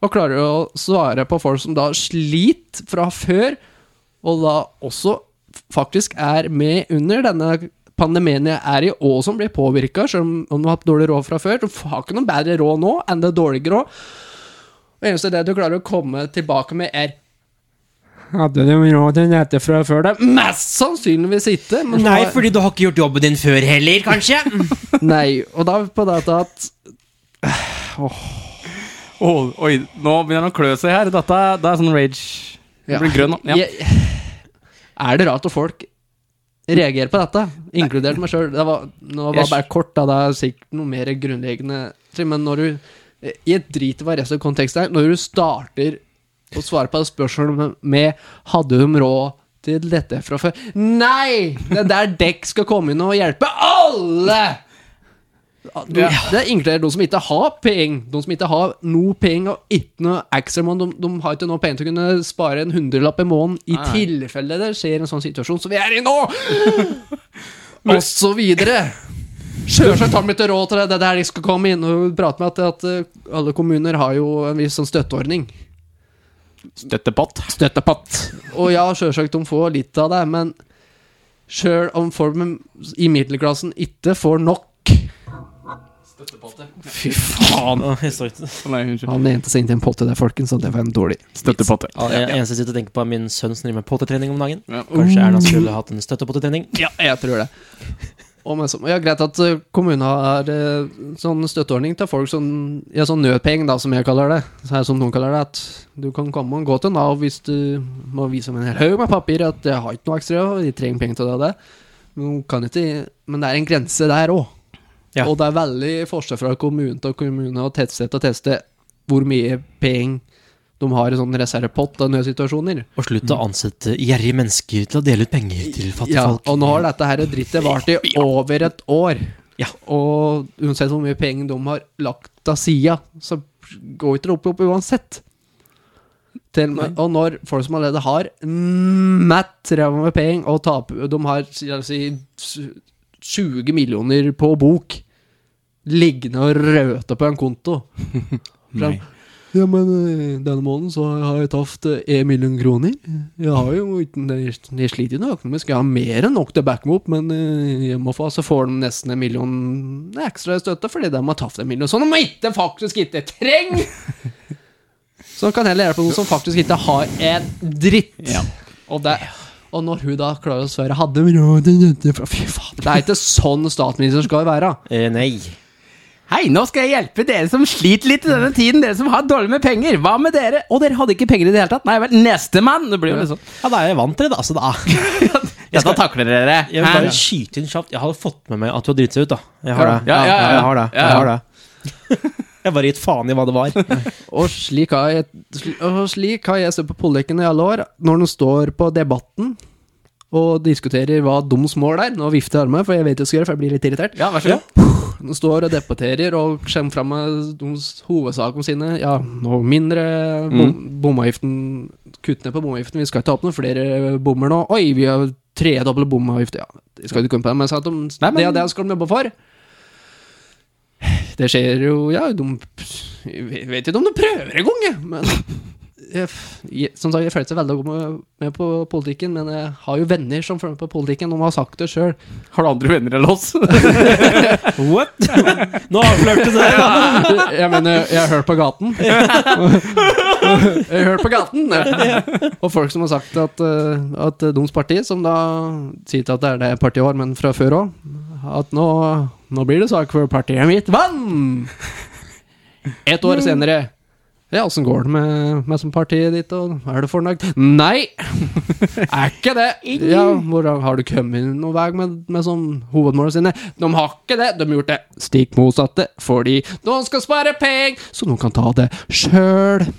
S4: Og klarer å svare på folk som da sliter fra før, og da også faktisk er med under denne pandemien jeg er i, og som blir påvirka, selv om om du har hatt dårlig råd fra før. Du har ikke noe bedre råd nå enn det dårligere råd. Det eneste det du klarer å komme tilbake med, er Hadde du råd til dette fra før? Det er mest sannsynligvis ikke. men
S2: Nei,
S4: har-
S2: fordi du har ikke gjort jobben din før heller, kanskje?
S4: Nei, og da er vi på dette at
S1: Åh, oi, nå begynner han å klø seg her. Dette det er sånn rage.
S4: Ja.
S1: Jeg blir grønn nå. Ja.
S4: Jeg- Er det rart at folk reagerer på dette? Inkludert meg sjøl. Det var, nå var det bare kort, da. Det er sikkert noe mer grunnleggende ting, Men når du Jeg driter i hva resten av konteksten er. Når du starter å svare på spørsmålet med 'Hadde hun råd til dette fra før?' Nei! Det er der dekk skal komme inn og hjelpe alle! Du,
S1: Ja.
S4: Det er inkludert de som ikke har penger. De som ikke har noe penger og ikke noe ekstra. men De, de har ikke noe penger til å kunne spare en hundrelapp i måneden i
S1: Nei.
S4: tilfelle det skjer en sånn situasjon som vi er i nå! og så videre. Sjølsagt har de ikke råd til det. Det er der de skal komme inn og prate med at, at eh, alle kommuner har jo en viss sånn støtteordning.
S1: Støttepott.
S4: Støttepatt. Og ja, sjølsagt de får litt av det, men sjøl om folk med- i middelklassen ikke får nok Fy faen.
S2: Å, jeg står ikke-
S1: Nei, unnskyld.
S4: Han mente seg inn til en pott i det, folkens, og det var en dårlig
S1: Støttepotte.
S2: Ja, jeg- eneste jeg sitter og tenker på, er min sønn som driver med pottetrening om dagen.
S1: Ja.
S2: Kanskje Erna skulle hatt en støttepottetrening?
S4: Ja, jeg tror det. Og men så, ja, greit at eh, kommunen har eh, sånn støtteordning til folk som Ja, sånn nødpenger, da, som jeg kaller det. Så her som noen kaller det, at du kan komme og gå til Nav hvis du må vise om en hel haug med papir at jeg har ikke noe ekstra, og de trenger penger til det og det. Men, hun kan ikke, men det er en grense der òg.
S2: Ja.
S4: Og det er veldig forskjell fra kommune til kommune og tettsted til tettsted hvor mye penger de har i sånn reservepott av nødsituasjoner.
S2: Og slutt å ansette gjerrige mennesker til å dele ut penger til fattige
S4: Ja,
S2: folk.
S4: og nå har dette her drittet vart i over et år.
S2: Ja.
S4: Og uansett hvor mye penger de har lagt av sida, så går ikke det opp, opp uansett. Til, og med- og når folk som allerede har matt ræva med penger, og taper De har la oss si s- 20 millioner på bok liggende og røte på en konto.
S2: Nei.
S4: Ja, men eh, denne måneden så har jeg tapt eh, en million kroner. Jeg har jo Jeg sliter jo nok økonomisk. Jeg har mer enn nok til å backe meg opp, men eh, jeg må få, så får de nesten en million ekstra i støtte fordi de har tapt en million. Så de må ikke faktisk ikke trenger! Så de kan heller hjelpe noen som faktisk ikke har en dritt. Og, det, og når hun da klarer å svare Hadde hun råd til dette?» Fy faen, det er ikke sånn statsminister skal være.
S2: Eh, nei.
S1: Hei, nå skal jeg hjelpe dere som sliter litt i denne tiden. Dere som har dårlig med penger. Hva med dere? Og dere hadde ikke penger i det hele tatt. Nei vel, nestemann! Det blir jo litt sånn.
S2: Ja, da er jeg vant til det, da. Så da.
S1: Dette takler dere.
S2: Jeg vil
S1: Hæ?
S2: bare skyte inn kjapt. Jeg har fått med meg at du har driti deg ut, da. Jeg har det.
S1: Ja, ja, ja, ja.
S2: Jeg har det.
S1: Ja,
S2: Jeg
S1: ja.
S2: har det. Jeg har bare gitt faen i hva det var.
S4: Og slik har jeg, sli- og slik har jeg sett på Pollekken i alle år. Når de står på Debatten og diskuterer hva deres mål er Nå vifter jeg armene, for jeg vet jeg skal gjøre for jeg blir litt irritert.
S1: Ja, vær så god.
S4: De står og debatterer og kommer fram med deres hovedsaker sine. Ja, nå mindre bom,
S1: Mm.
S4: bomavgiften Kutt ned på bomavgiften, vi skal ikke ha opp noen flere bommer nå. Oi, vi har tredoble bomavgift. Ja, jeg skal ikke komme på det, men, jeg sa at de,
S1: Nei, men-
S4: det og det skal de jobbe for. Det skjer jo Ja, de Jeg vet ikke om de prøver engang, jeg, men jeg, jeg, Som sagt, jeg føler seg veldig godt med, med på politikken, men jeg har jo venner som følger med på politikken, og de har sagt det sjøl.
S1: Har du andre venner enn oss?
S2: What? Nå avslørte du det! da.
S4: Jeg mener, eh, jeg har hørt på gaten. Jeg har hørt på gaten! ja. Og folk som har sagt at, eh, at deres parti, som da sier til at det er det partiet har, men fra før òg At nå, nå blir det sak for partiet mitt. Vann! Ett år senere. Ja, åssen går det med, med som partiet ditt, og er du fornøyd? Nei! Er ikke det! Ja, hvordan Har du kommet noen vei med, med sånn hovedmålene sine? De har ikke det! De har gjort det stikk motsatte, fordi noen skal spare penger, så noen kan ta det sjøl!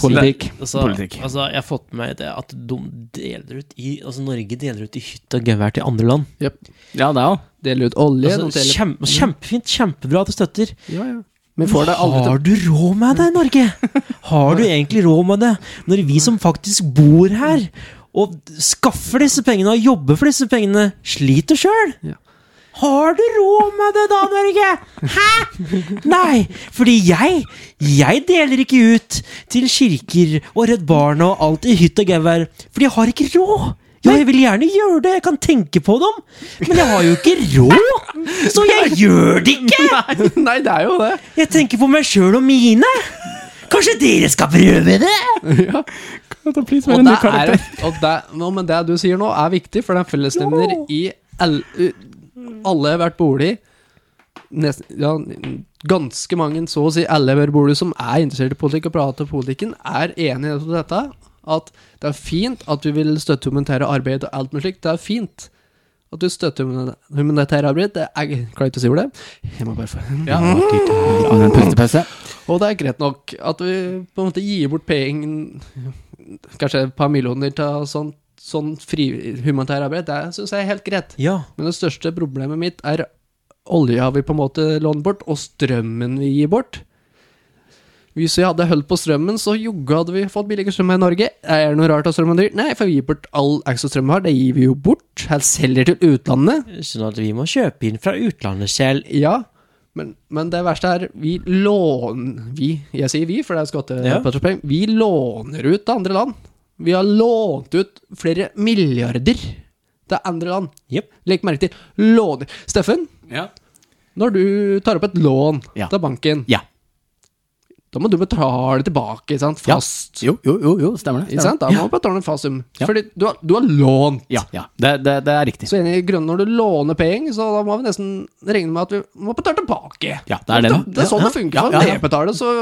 S4: Politikk.
S2: Altså,
S1: Politikk.
S2: altså, jeg har fått med meg det at de deler ut i Altså, Norge deler ut i hytte og gevær til andre land.
S1: Ja, det òg.
S4: Dele ut olje noen
S2: Altså,
S4: deler-
S2: kjem, kjempefint, kjempebra at du støtter.
S4: ja, ja. Men får det aldri til
S2: Har du råd med det, Norge? Har du egentlig råd med det? Når vi som faktisk bor her, og skaffer disse pengene og jobber for disse pengene, sliter sjøl? Har du råd med det da, Norge? Hæ? Nei, fordi jeg Jeg deler ikke ut til kirker og Redd Barna og alt i hytt og gevær, for jeg har ikke råd. Ja, jeg vil gjerne gjøre det, jeg kan tenke på dem, men jeg har jo ikke råd! Så jeg gjør det ikke!
S4: Nei, det er jo det.
S2: Jeg tenker på meg sjøl og mine. Kanskje dere skal prøve det?
S4: Ja. Og det er, og det, nå, men det du sier nå, er viktig, for det er fellesnevner i all, u- alle har vært bolig. Nesten, ja, ganske mange, så å si alle har vært bolig, som er interessert i politikk og prater om politikken, er enig i dette. At det er fint at vi vil støtte humanitære arbeid og alt mulig slikt. Det er fint at du støtter humani- humanitære arbeid. Det er, jeg klarer ikke å si ordet. Jeg må bare få og det er greit nok at vi på en måte gir bort penger, kanskje et par millioner til sånn, sånn fri humanitær arbeid, det syns jeg er helt greit.
S2: Ja.
S4: Men det største problemet mitt er olja vi på en måte låner bort, og strømmen vi gir bort. Hvis vi hadde holdt på strømmen, så jogge hadde vi fått billigere strøm her i Norge. Er det noe rart at strømmen er dyr? Nei, for vi gir bort all ekstra strøm vi har. Det gir vi jo bort. Her selger til utlandet.
S2: Sånn at vi må kjøpe inn fra utlandet selv.
S4: Ja, men, men det verste er Vi låner Vi, jeg sier vi, for det er
S2: Ja.
S4: skattepenger. Vi låner ut til andre land. Vi har lånt ut flere milliarder til andre land.
S2: Jepp.
S4: Legg merke til låner. Steffen,
S1: Ja.
S4: når du tar opp et lån
S1: Ja.
S4: til banken,
S1: Ja.
S4: da må du betale tilbake, ikke sant?
S1: Ja.
S4: Fast.
S1: Jo, jo, jo, jo, stemmer det.
S4: Ikke sant? Da må du betale en fast sum.
S1: Ja.
S4: Fordi du har, du har lånt.
S1: Ja, ja. Det, det, det er riktig.
S4: Så enig i grunnen når du låner penger, så da må vi nesten regne med at vi må betale tilbake.
S1: Ja, det er det.
S4: Det, det er sånn det funker.
S1: Ja,
S4: Sånn
S1: ja, ja.
S4: nedbetaler, så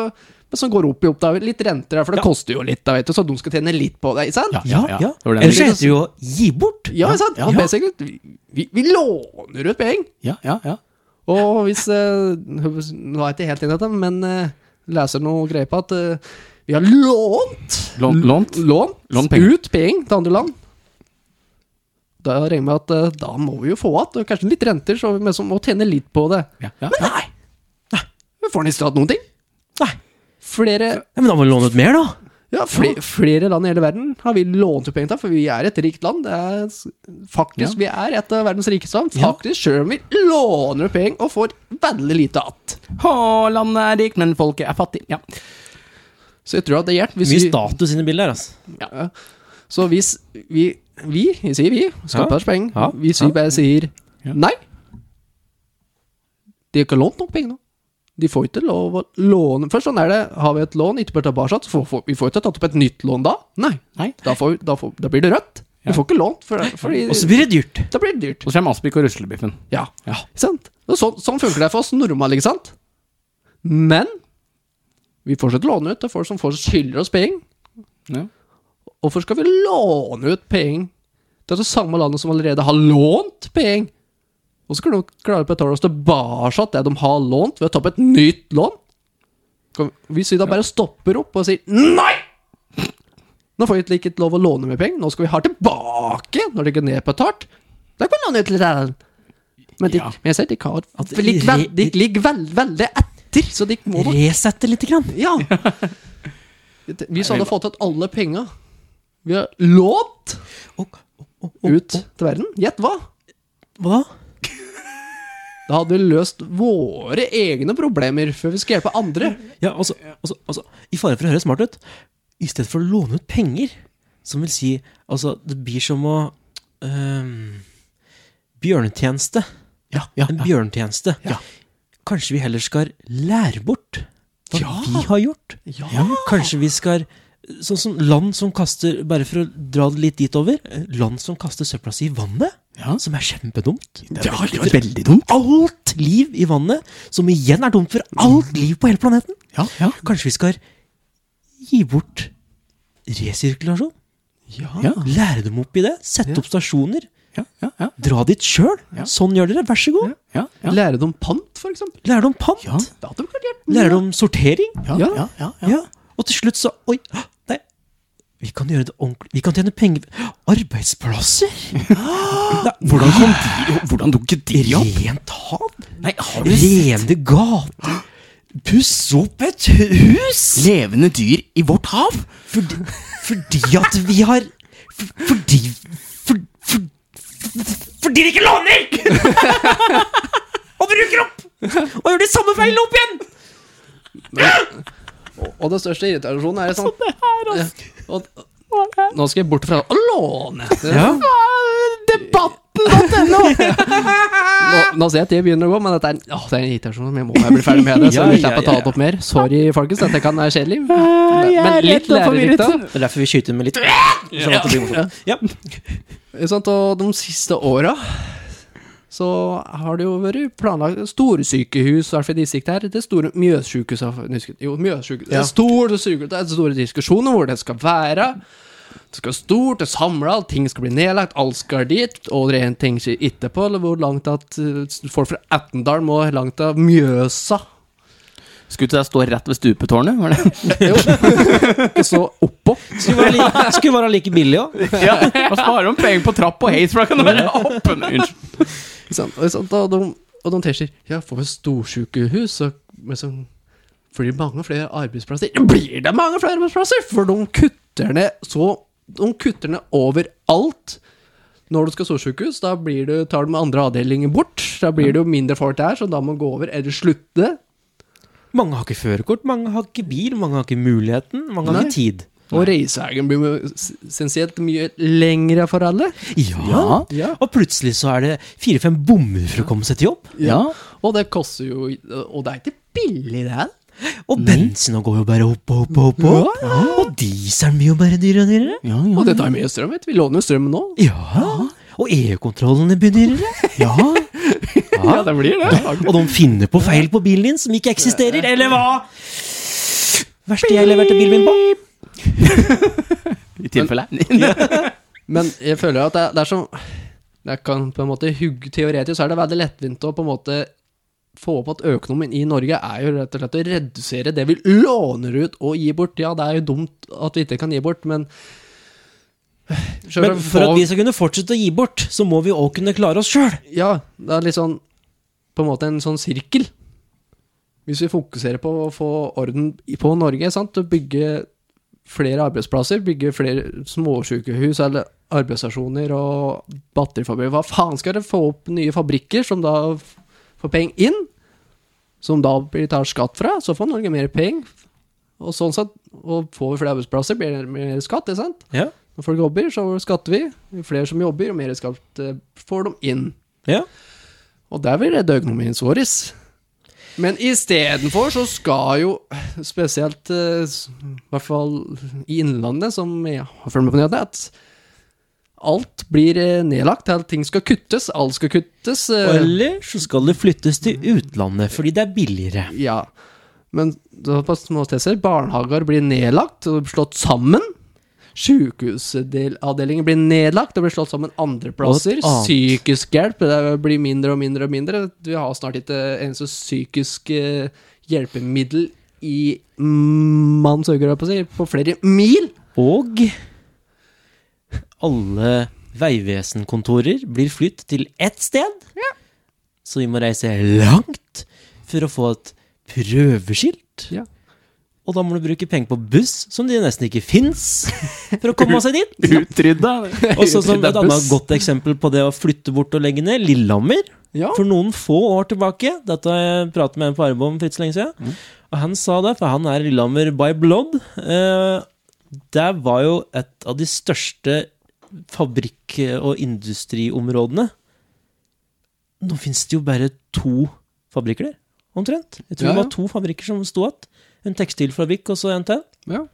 S4: men så går det opp i opp. Da. Litt renter, for det koster jo litt, da, vet du, så de skal tjene litt på det. Ikke sant?
S1: Ja,
S2: Ja, ja.
S1: ja. Det var den
S2: Ellers
S1: jeg-
S2: heter det jo gi bort.
S4: Ja, ikke sant?
S1: ja,
S4: Og
S1: ja.
S4: basically, vi- vi, vi låner ut penger.
S1: Ja, ja, ja.
S4: Og hvis eh, Nå er jeg ikke helt enig i dette, men eh, leser noe greier på at eh, vi har lånt
S1: Lånt, lånt.
S4: Lånt,
S1: Lånt penger.
S4: ut penger til andre land. Da regner jeg med at eh, da må vi jo få igjen kanskje litt renter, så vi må- så må tjene litt på det.
S1: Ja, ja.
S4: Men nei! Nei, Vi får nesten hatt noen ting.
S2: Nei.
S4: Flere,
S2: Ja, men da må vi låne ut mer, da.
S4: ja, fle- flere land i hele verden har vi lånt ut penger til, for vi er et rikt land. Det er, s- faktisk, Vi er et av verdens rikeste land.
S2: Ja.
S4: Faktisk, Selv om vi låner ut penger og får veldig lite igjen.
S1: Å, landet er rikt, men folket er fattig. Ja.
S4: Så jeg tror at det hjelper. hvis
S2: Mye
S4: vi-
S2: status inni bildet her, altså.
S4: Ja. Så hvis vi, vi jeg sier vi, skatteperspenger,
S1: Ja.
S4: hvis vi bare sier
S1: Ja.
S4: nei De har ikke lånt nok penger nå. De får ikke lov å låne Først sånn er det, har vi et lån, ikke bør ta tilbake, så får, får, vi får ikke tatt opp et nytt lån da. Nei,
S1: Nei.
S4: da, får, vi- da, får, da blir det rødt. Vi får ikke lånt, for, fordi
S2: Og så blir det dyrt.
S4: da blir det dyrt.
S1: Og så kommer Aspik og ruslebiffen.
S4: Ja.
S1: Ja.
S4: Ikke sant? Og Så, sånn funker det for oss normale, ikke sant? Men vi fortsetter å låne ut til folk som får skylder oss penger.
S1: Ja.
S4: Hvorfor skal vi låne ut penger til det samme landet som allerede har lånt penger? Og så kan de klare å betale oss tilbake det de har lånt, ved å ta opp et nytt lån? Kan- Hvis vi da bare stopper opp og sier nei! Nå får vi ikke like lov å låne mer penger, nå skal vi ha tilbake når det ikke er nedbetalt. Da kan vi låne ut litt. her. Men, de,
S1: Ja.
S4: men jeg ser de har
S2: At
S4: De ligger
S2: re-
S4: veld- de ligger veld- veldig etter, så de må nok
S2: Resette lite grann.
S4: ja. Hvis hadde fått ut alle penga vi har lånt
S2: Og, og, og,
S4: ut til verden, gjett hva?
S2: hva da?
S4: Da hadde vi løst våre egne problemer før vi skal hjelpe andre.
S2: Ja, altså, altså, altså I fare for å høre smart ut, i stedet for å låne ut penger, som vil si Altså, det blir som å ehm, Bjørnetjeneste.
S1: Ja, ja,
S2: En bjørnetjeneste.
S1: Ja.
S2: Kanskje vi heller skal lære bort hva
S1: Ja.
S2: vi har gjort? Kanskje vi skal Sånn som land som kaster Bare for å dra det litt dit over. eh, Land som kaster søpla si i vannet,
S1: Ja.
S2: som er kjempedumt.
S1: Det er veldig, veldig dumt.
S2: Alt liv i vannet, som igjen er dumt for
S1: Mm.
S2: alt liv på hele planeten.
S1: Ja, ja.
S2: Kanskje vi skal gi bort resirkulasjon?
S1: Ja.
S2: Lære dem opp i det? Sette opp stasjoner?
S1: Ja, ja, ja.
S2: Dra dit sjøl?
S1: Ja.
S2: Sånn gjør dere, vær så god.
S1: Ja, ja.
S4: Lære dem pant, for eksempel.
S2: Lære dem pant.
S1: Ja.
S4: Da hadde vi klart hjelp.
S2: Lære dem sortering.
S1: Ja,
S4: Ja.
S1: ja, ja,
S2: Ja. Og til slutt så Oi! hå, Nei. Vi kan gjøre det ordentlig. Vi kan tjene penger Arbeidsplasser! Nei, hvordan kom de
S1: Jo, Hvordan dukket de opp?
S2: Rent hav?
S1: Nei, har du sett
S2: Rene gater? Pusse opp et hus?
S1: levende dyr i vårt hav?
S2: Fordi, fordi at vi har for, Fordi for, for, for, Fordi de ikke låner! og bruker opp! Og gjør de samme feilene opp igjen!
S4: Og den største irritasjonen er sånn Ja, og- Nå skal jeg bort fra å låne!
S1: Debatten.no!
S4: Nå, nå ser jeg at det begynner å gå, men dette er, en- åh, det er en irritasjon. men Jeg må jeg bli ferdig med det, så
S2: Ja,
S4: vi
S2: ja,
S4: slipper å ta
S2: ja.
S4: det opp mer. Sorry, folkens. Dette kan være kjedelig.
S1: Ah, jeg
S4: Men
S1: er
S4: litt
S1: redd og forvirret.
S4: lærerikt, da.
S2: Det er derfor vi skyter med litt Sånn at det blir morsomt. Ja.
S4: Ikke sant, Og de siste åra så har det jo vært planlagt store sykehus, i hvert fall i distriktet her. Det store Mjøssykehuset har- nå husker jeg- Jo, Mjøssykehuset. Det er store sykehus, det er store diskusjoner hvor det skal være. Det skal være stort, det er samla, ting skal bli nedlagt, alt skal dit. Og det er en ting som ikke på eller hvor langt at eh, folk fra Attendal må langt av Mjøsa.
S1: Skuta står rett ved stupetårnet, var det?
S4: Jo. Og så oppå.
S2: Skulle være like, skulle være like billig òg.
S1: Ja. Hva sparer de penger på trapp og heis, for da kan du bare hoppe ned. Unnskyld.
S4: Ikke sant? Og, ikke sant? og de, og de tenker Ja, får vi et storsykehus så, Men så blir det mange flere arbeidsplasser Det Blir det mange flere arbeidsplasser? For de kutter ned så De kutter ned overalt når du skal ha storsykehus, da blir det, tar de andre avdelinger bort. Da blir det jo mindre folk der, så da må man gå over eller slutte.
S2: Mange har ikke førerkort, mange har ikke bil, mange har ikke muligheten, mange har ikke tid.
S4: Og reiseveien blir jo essensielt mye lengre for alle.
S1: Ja.
S4: Ja.
S2: Og plutselig så er det fire-fem bommer for å komme seg til jobb.
S1: Ja.
S4: Og det koster jo Og det er ikke billig, det her.
S2: Og bensina går jo bare opp og opp og opp. og opp. Og dieselen blir jo bare dyrere og dyrere.
S1: Ja, ja.
S4: Og det tar mye strøm, vet du. Vi låner jo strøm nå.
S2: Ja. Og EU-kontrollene blir dyrere. Ja.
S4: Ja, det blir det.
S2: Og de finner på feil på bilen din som ikke eksisterer, eller hva? Verste jeg leverte bilen min på.
S1: I tilfelle. Ja.
S4: Men jeg føler at det, er- det er som Det kan på en måte hugg Teoretisk er det veldig lettvint å på en måte få opp at økonomien i Norge er jo rett og slett å redusere det vi låner ut og gir bort. Ja, det er jo dumt at vi ikke kan gi bort, men
S2: Men for at vi skal kunne fortsette å gi bort, så må vi òg kunne klare oss sjøl.
S4: Ja, det er litt sånn På en måte en sånn sirkel. Hvis vi fokuserer på å få orden i- på Norge, sant? og bygge flere arbeidsplasser, bygge flere småsykehus eller arbeidsstasjoner og batterifabrikker Hva faen skal det få opp nye fabrikker som da f- får penger inn? Som da blir tar skatt fra, så får Norge mer penger. Og sånn sett, og får vi flere arbeidsplasser, blir det mer skatt, ikke sant?
S2: Ja.
S4: Når folk jobber, så skatter vi. Jo Flere som jobber, jo mer skatt eh, får de inn.
S2: Ja.
S4: Og der vil redde økonomien vår. Men istedenfor så skal jo spesielt eh, s- I hvert fall i Innlandet, som jeg har fulgt med på nyhetene, at alt blir eh, nedlagt. Alt ting skal kuttes. Alt skal kuttes. eh,
S2: Eller så skal det flyttes til utlandet fordi det er billigere.
S4: Ja. Men da på små steder Barnehager blir nedlagt og slått sammen. Sjukehusavdelinger blir nedlagt og blir slått sammen andre
S2: Og
S4: plasser.
S2: et annet.
S4: Psykisk hjelp det blir mindre og mindre og mindre. Vi har snart ikke eneste psykisk eh, hjelpemiddel i mm, manns øyne, holdt jeg på å si, på flere mil.
S2: Og alle veivesenkontorer blir flytt til ett sted. Så vi må reise langt for å få et prøveskilt.
S4: Ja.
S2: Og da må du bruke penger på buss, som de nesten ikke fins, for å komme seg dit.
S1: Utrydda.
S2: Og så som
S1: Utrydda
S2: et annet
S1: buss.
S2: godt eksempel på det å flytte bort og legge ned, Lillehammer.
S4: Ja.
S2: For noen få år tilbake, dette har jeg pratet med en på Arbeid om for ikke så lenge
S4: Mm.
S2: siden, og han sa det, for han er Lillehammer by blood. eh, det var jo et av de største fabrikk- og industriområdene. Nå finnes det jo bare to fabrikker der, omtrent. Jeg tror
S4: Ja,
S2: det
S4: ja.
S2: var to fabrikker som sto igjen. En tekstilfabrikk og så en til.
S4: Ja,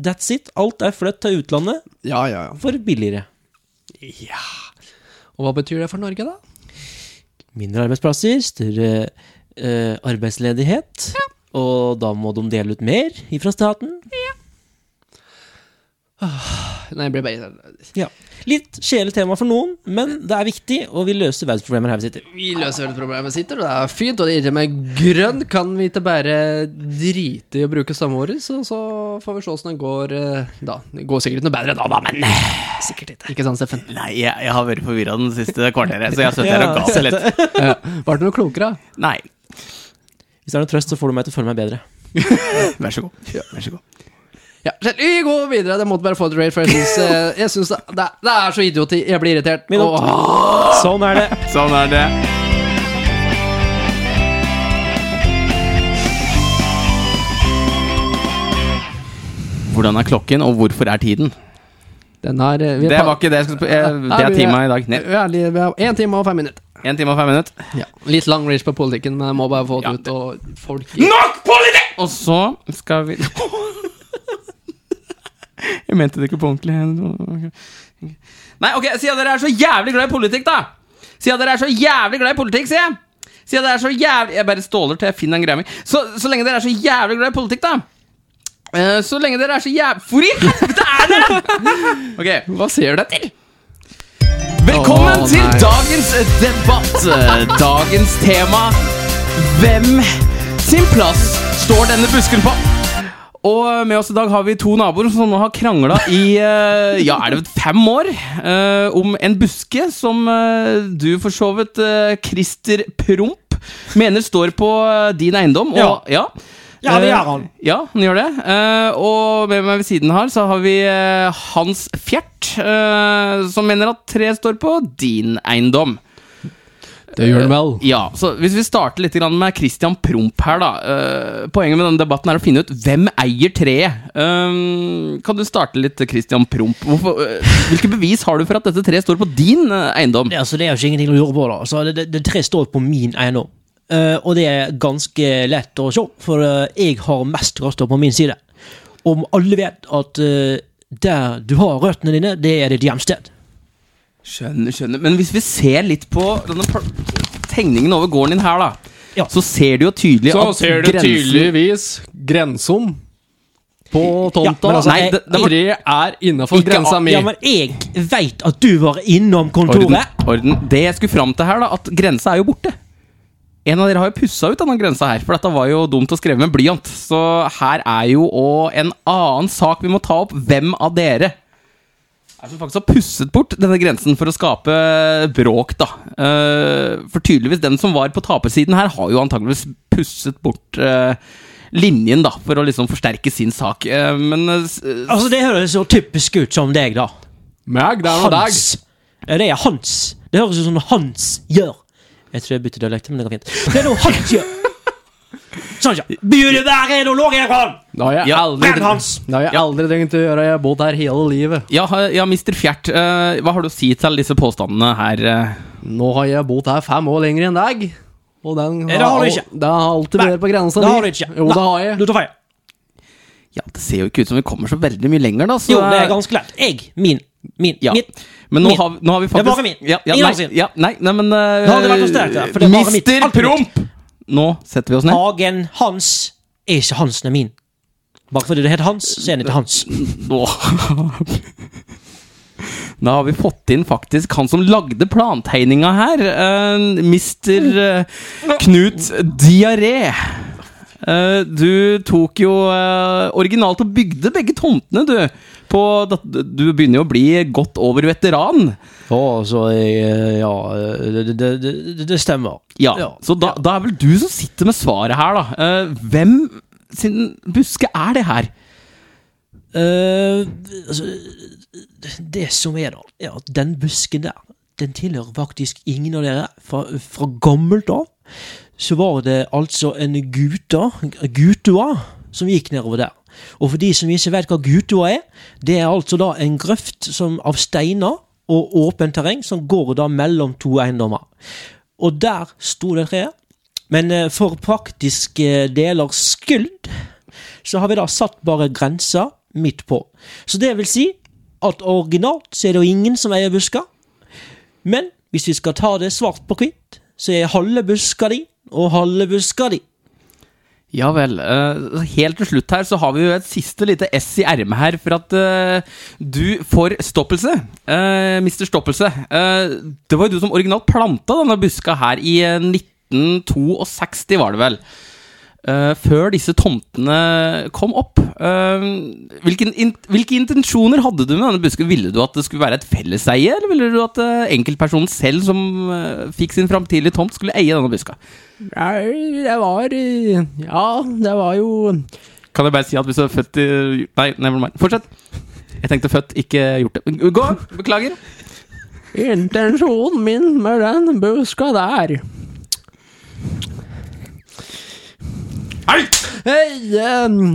S2: That's it. Alt er flyttet til utlandet
S4: ja, ja.
S2: for billigere.
S4: Og hva betyr det for Norge, da?
S2: mindre arbeidsplasser, større eh, arbeidsledighet. Og da må de dele ut mer ifra staten.
S4: Nei, jeg blir bare
S2: Ja. Litt kjedelig tema for noen, men det er viktig, og vi løser verdensproblemer her vi sitter.
S4: Vi løser vel problemet sitter, og det er fint. Og det irrer meg grønn. Kan vi ikke bare drite i å bruke stammet vårt, så, så får vi se åssen det går eh, da. Det går sikkert noe bedre da, da, men eh, sikkert ikke. Ikke sant, Steffen?
S1: Nei, jeg, jeg har vært forvirra den siste kvarteret, så jeg har sittet her og
S2: Ja,
S1: gapt litt.
S4: Ja. Ble du Eh, noe klokere? da?
S1: Nei.
S2: Hvis det er noe trøst, så får du meg til å føle meg bedre.
S1: Vær så god. Vær så god.
S4: Ja, selv- vi går videre. Det måtte bare få et raid, for jeg syns, eh, jeg syns det, det, det er så idioti. Jeg blir irritert.
S5: Min
S4: Åh.
S5: Sånn er det.
S1: Sånn er det. Hvordan er klokken, og hvorfor er tiden?
S4: Den er, eh, vi er
S1: Det
S4: pa-
S1: var ikke det jeg skulle sp- eh, Det
S4: Ja,
S1: er
S4: vi
S1: tima i dag.
S4: Vi er li- vi har Én time og fem minutter.
S1: Én time og fem minutter.
S4: Litt lang reach på politikken, men jeg må bare få det
S1: Ja,
S4: ut.
S1: det-
S4: Og folk
S1: Nok politikk! Og så skal vi Jeg mente det ikke på ordentlig. Nei, ok, siden dere er så jævlig glad i politikk, da! Siden dere er så jævlig glad i politikk, sier jeg! Siden dere er så jævlig Jeg bare ståler til jeg finner en greie mi. Så, så lenge dere er så jævlig glad i politikk, da! eh, Så lenge dere er så jævlig Hvor i helvete er dere?! Ok,
S4: Hva ser du etter?
S1: Velkommen
S4: Åh,
S1: til
S4: nei.
S1: dagens debatt. Eh, Dagens tema Hvem sin plass står denne busken på? Og med oss i dag har vi to naboer som nå har krangla i eh, ja, er det fem år eh, om en buske som eh, du for så vidt, eh, Christer Promp, mener står på eh, din eiendom. Og,
S2: Ja,
S1: ja.
S2: det
S1: Eh,
S2: gjør han.
S1: Ja, han gjør det. Eh, og med meg ved siden her så har vi eh, Hans Fjert, eh, som mener at tre står på din eiendom. Eh,
S4: Det gjør den vel.
S1: Ja, så Hvis vi starter litt grann med Christian Promp her, da. eh, poenget med denne debatten er å finne ut hvem eier treet. Eh, kan du starte litt, Christian Promp? Hvorfor, eh, hvilke bevis har du for at dette treet står på din eh, eiendom?
S2: Det, altså, det er jo ikke ingenting å lure på, da. Så det, det, det tre står på min eiendom. Eh, og det er ganske lett å se, for eh, jeg har mest røtter på min side. Om alle vet at eh, der du har røttene dine, det er ditt hjemsted.
S1: Skjønner, skjønner. Men hvis vi ser litt på denne par- tegningen over gården din her, da.
S2: Ja. altså,
S1: Så ser du jo tydelig
S4: Så
S1: at
S4: ser du tydeligvis grensom på tomta.
S2: Ja, men altså,
S1: Nei, det- det var-
S4: Tre er innafor
S1: Ikke
S4: grensa
S1: a-
S4: mi.
S2: Ja, men jeg veit at du var innom
S1: Orden,
S2: kontoret.
S1: orden. Det jeg skulle fram til her, da, at grensa er jo borte. En av dere har jo pussa ut denne grensa her, for dette var jo dumt å skrive med blyant. Så her er jo òg en annen sak vi må ta opp. Hvem av dere er det som faktisk har pusset bort denne grensen for å skape bråk, da? Eh, For tydeligvis, den som var på tapersiden her, har jo antakeligvis pusset bort eh, linjen, da, for å liksom forsterke sin sak. Eh, Men eh, s-
S2: Altså, det høres så typisk ut som deg, da.
S4: Meg, det er noe deg.
S2: Hans. Ja, det er Hans. Det høres ut som noe Hans gjør. Jeg tror jeg bytter dialekt, men det går fint. Det er noe Hans gjør. Sånn, ja. Burde være en olog her, han!
S4: Det har jeg
S1: Ja,
S4: aldri,
S2: men Hans.
S4: det har jeg aldri tenkt å gjøre. Jeg har bodd her hele livet.
S1: Ja, ha- ja Mr. Fjert, eh, hva har du å si til disse påstandene her? eh?
S4: Nå har jeg bodd her fem år lenger enn deg. Og den
S2: Nei, det har du ikke.
S4: Det har alltid
S2: Nei,
S4: vært på grensa
S2: Det
S4: mi.
S2: har du ikke.
S4: Jo,
S2: Nei,
S4: det har jeg.
S2: Du tar feil.
S1: Ja, Det ser jo ikke ut som vi kommer så veldig mye lenger, da. Så, eh,
S2: Jo,
S4: eh,
S2: det er ganske lett. Jeg, min, min,
S1: ja.
S2: min.
S1: Men nå
S2: Min.
S1: har, vi- nå har vi
S2: Det er
S1: faktisk
S2: bare min.
S1: Ja, ja,
S2: Ingen
S1: nei,
S2: andre sin.
S1: ja, nei, nei, men eh,
S2: Det hadde vært for sterkt, ja, for det er bare mitt.
S1: Mr.
S2: Alt er mitt.
S1: Promp! Nå setter vi oss ned.
S2: Hagen Hans er ikke Hansen er min. Bare fordi det heter Hans, så er det ikke Hans.
S1: Nå. Da har vi fått inn faktisk han som lagde plantegninga her. eh, Mr. eh, Knut Diaré. Eh, du tok jo eh, originalt og bygde begge tomtene, du. På, dat- du begynner jo å bli godt over veteran.
S2: Ja, altså, jeg, ja eh, det, det, det, det stemmer.
S1: Ja, Så da, da er vel du som sitter med svaret her, da. Eh, hvem sin buske er det her?
S2: Eh, altså, det som er da, er at den busken der, den tilhører faktisk ingen av dere. Fra, fra gammelt av så var det altså en guta, gutua, som gikk nedover der. Og for de som ikke vet hva gutua er, det er altså da en grøft som, av steiner og åpent terreng som går da mellom to eiendommer. Og der sto det treet. Men eh, for praktiske deler skyld, så har vi da satt bare grensa midt på. Så det vil si at originalt så er det jo ingen som eier busker. Men hvis vi skal ta det svart på hvitt, så er halve buska di og halve buska di.
S1: Ja vel. eh, helt til slutt her så har vi jo et siste lite S i ermet her for at eh, du får stoppelse. Uh, Mister Stoppelse. eh, det var jo du som originalt planta denne buska her i eh, 1962, var det vel? Eh, før disse tomtene kom opp. Eh, hvilken in hvilke intensjoner hadde du med denne busken? Ville du at det skulle være et felleseie, eller ville du at eh, enkeltpersonen selv som eh, fikk sin framtidige tomt, skulle eie denne buska?
S4: Nei, det var eh, Ja, det var jo
S1: Kan jeg bare si at hvis du er født i Nei, never mind. Fortsett. Jeg tenkte født, ikke gjort det. Men Gå! Beklager.
S4: Intensjonen min med den buska der Hei, ehm,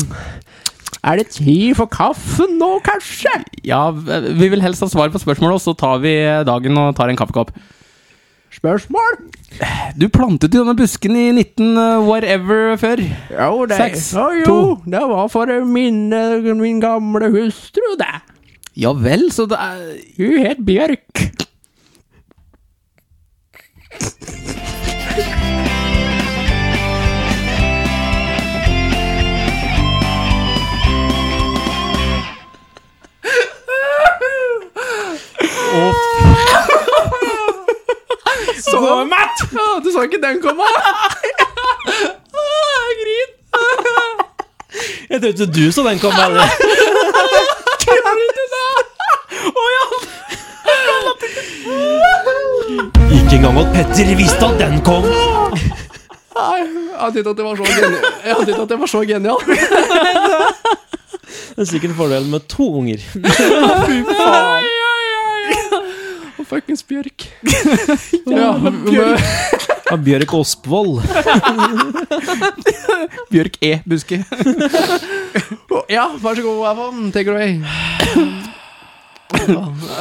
S4: Er det tid for kaffen nå, kanskje?
S1: Ja, vi vil helst ha svar på spørsmålet, og så tar vi dagen og tar en kaffekopp.
S4: Spørsmål?
S1: Du plantet jo denne busken i 19 whatever før.
S4: Jo, det,
S1: Seks,
S4: Å, jo, det var for å minne min gamle hustru, det.
S1: Ja vel, så det er
S4: Hun het Bjørk. Så matt! Du så ikke den komme?
S2: Jeg trodde du så den kom. Bare. Ikke engang at Petter visste at den kom.
S4: Nei, Jeg tykte at det var så genial. Jeg tykte at det var så genial.
S2: Det er sikkert fordelen med to unger.
S4: Fy faen. Og fuckings Bjørk. Ja, men-
S2: Av Bjørk Osvold.
S1: Bjørk E. Buske.
S4: ja, vær så god, Avon. Take it away.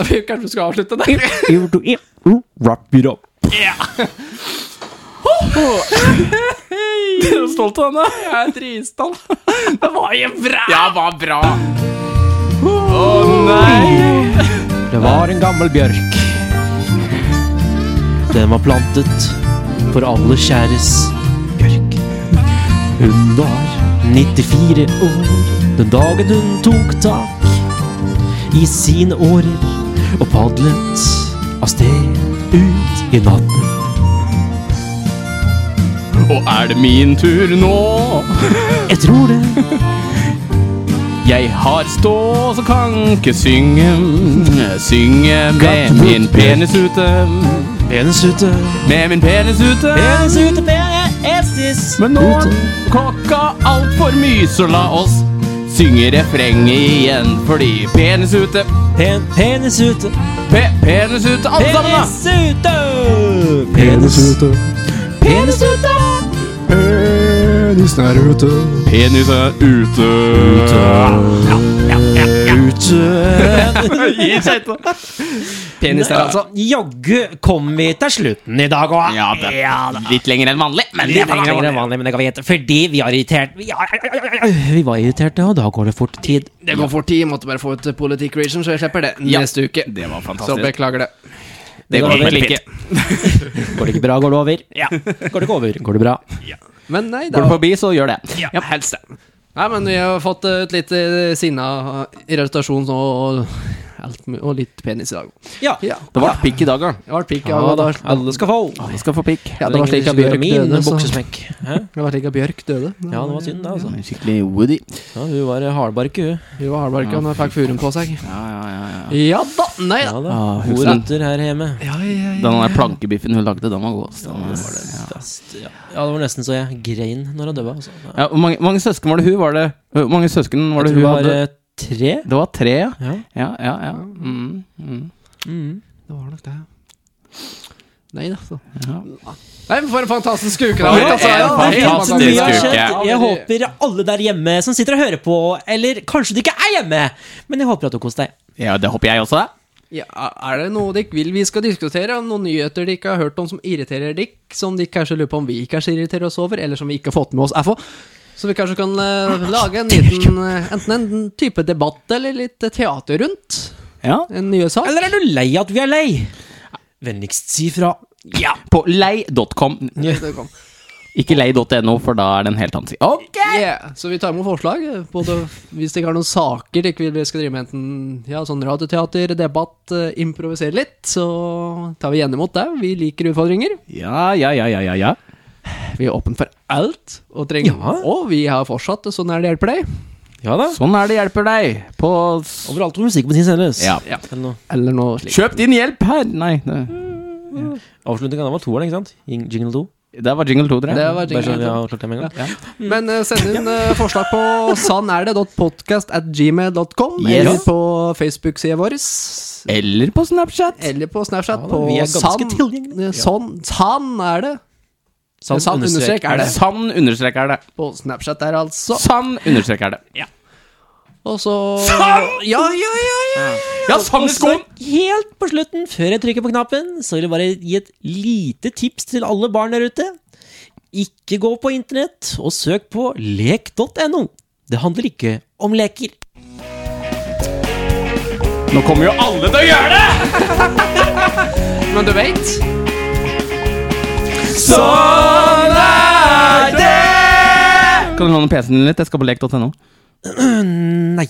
S4: Vi kanskje vi skal avslutte der.
S2: Wrap it up.
S1: Er du stolt av denne? Jeg er dritstolt. Det var jo bra! Ja, det var bra. Å nei!
S2: Det var en gammel bjørk. Den var plantet for alle kjæres bjørk. Hun var 94 år den dagen hun tok tak i sine årer og padlet av sted ut i natten.
S1: Og er det min tur nå?
S2: Jeg tror det
S1: Jeg har stå, så kan ikke synge. Synge med min penis ute.
S2: penis ute,
S1: Med min penis ute.
S2: penis ute, penis
S1: Men nå er klokka altfor mye, så la oss synge refrenget igjen. Fordi penis ute,
S2: Pen, penis ute,
S1: pe penis ute, alle sammen, da!
S2: penis ute, penis ute, penis ute.
S3: Penisen er ute.
S1: Penis er ute. Penis er altså
S2: Altså, jaggu kom vi til slutten i dag òg.
S1: Ja, det er litt lenger enn vanlig, men
S2: Det var lenger enn vanlig, men det kan vi gjette, fordi vi har irritert Vi, har- vi var irriterte, og da går det fort tid.
S4: Det går for tid. Måtte bare få ut politikk-reason, så jeg slipper det
S1: Ja.
S4: neste uke.
S1: Det var
S4: Så
S1: fantastisk.
S4: beklager det.
S1: Det går vel ikke.
S2: Går det ikke bra, går det over. Går det ikke over, går det bra.
S4: Men nei,
S1: Går
S4: da.
S1: du forbi, så gjør det.
S4: Ja, helst det. Nei, men vi har fått eh, et lite sinna irritasjon nå, og, alt, mu- og litt penis i dag.
S2: Ja.
S4: Ja.
S1: Det ble pikk i dag, da.
S4: Det var pikk, ja,
S2: Ja,
S4: og
S2: da,
S4: da-
S2: alle skal få.
S1: Vi skal få pikk.
S4: Ja, det var slik at Bjørk
S2: min
S4: døde, så
S2: buksesmekk. Hæ?
S4: Det var slik at Bjørk døde.
S2: Ja, det var synd, det, altså.
S1: Sånn Skikkelig Woody.
S2: Ja, hun var hardbarke, hun.
S4: Hun var hardbarka, og hun fikk furuen på seg.
S1: Ja, ja, ja, ja.
S4: Ja da! Nei
S2: Ja
S4: da.
S2: da.
S1: Ah,
S2: Hun
S1: husen.
S2: rotter her hjemme.
S4: Ja, ja, ja.
S1: Den der plankebiffen hun lagde, den var god. ass. Den var det, ja.
S2: Fast, Ja, Ja, det var nesten så jeg grein når hun døde. Altså.
S1: Ja, hvor mange, mange søsken var det hun var det? Hvor mange søsken var det
S2: Jeg
S1: hun
S2: tror det var
S1: hadde?
S2: eh, tre.
S1: Det var tre, ja.
S2: Ja.
S1: Ja, ja, ja. Mm, mm.
S4: Det var nok det. Nei da. så.
S1: Ja.
S4: Nei, men for en fantastisk uke,
S1: For
S4: da. vet du, altså.
S1: en
S4: Ja, det er helt
S1: fantastisk
S2: Mye har
S1: uke.
S2: skjedd.
S1: Ja,
S2: Jeg håper alle der hjemme som sitter og hører på, eller kanskje du ikke er hjemme, men jeg håper at du koser deg.
S1: ja, det håper jeg også.
S4: Ja, er det noe dere vil vi skal diskutere? Noen nyheter dere ikke har hørt om som irriterer dere? Som dere kanskje lurer på om vi kanskje irriterer oss over, eller som vi ikke har fått med oss er for? Så vi kanskje kan eh, lage en liten eh, enten en type debatt eller litt eh, teater rundt
S1: Ja.
S4: en nye sak.
S2: Eller er du lei at vi er lei? Vennligst si fra.
S1: ja. På lei.com.
S4: Det kom.
S1: Ikke lei.no, for da er det en helt annen side. Ok!
S4: Yeah. Så vi tar imot forslag. eh, Både hvis dere har noen saker dere vil vi skal drive med, enten ja, sånn radioteater, debatt, eh, improvisere litt, så tar vi gjerne imot det. Vi liker utfordringer.
S1: Ja, ja, ja, ja, ja, ja.
S4: Vi er åpne for alt. Og, trenger,
S2: Ja.
S4: og vi har fortsatt det, Sånn er det hjelper deg.
S2: Ja da.
S1: Sånn er det hjelper deg på s-
S2: Overalt hvor musikk på sin sendes.
S1: Ja.
S2: Eller noe.
S4: Eller noe slikt.
S1: Kjøp din hjelp her! Nei. det-
S2: Avslutningen den var toeren, ikke sant? Jing- Jingle 2.
S1: Det var jingle 2, tror jeg.
S4: Det var
S2: Bare sånn, så vi
S4: jingle.
S2: har klart det med en gang.
S4: Men eh, send inn eh, forslag på sannerde.podcast.gmail.com,
S1: Yes.
S4: eller på Facebook-sida vår,
S1: Eller på Snapchat.
S4: eller på Snapchat
S2: Ja da,
S4: på
S2: vi er ganske
S4: sann-
S2: tilgjengelige.
S4: eh, Sånn, sann er det.
S2: Sann
S4: Sann
S2: understrek
S4: understrek er det.
S1: Sann understrek er det.
S4: På Snapchat der, altså.
S1: Sann understrek er det. Ja,
S4: Og så Ja, ja, ja, ja.
S1: sann i skoen!
S2: Helt på slutten, før jeg trykker på knappen, så vil jeg bare gi et lite tips til alle barn der ute. Ikke gå på internett og søk på lek.no. Det handler ikke om leker.
S1: Nå kommer jo alle til å gjøre det!
S4: Men du veit
S1: Sånn er det! Kan du låne PC-en din litt? Jeg skal på lek.no.
S2: Nei.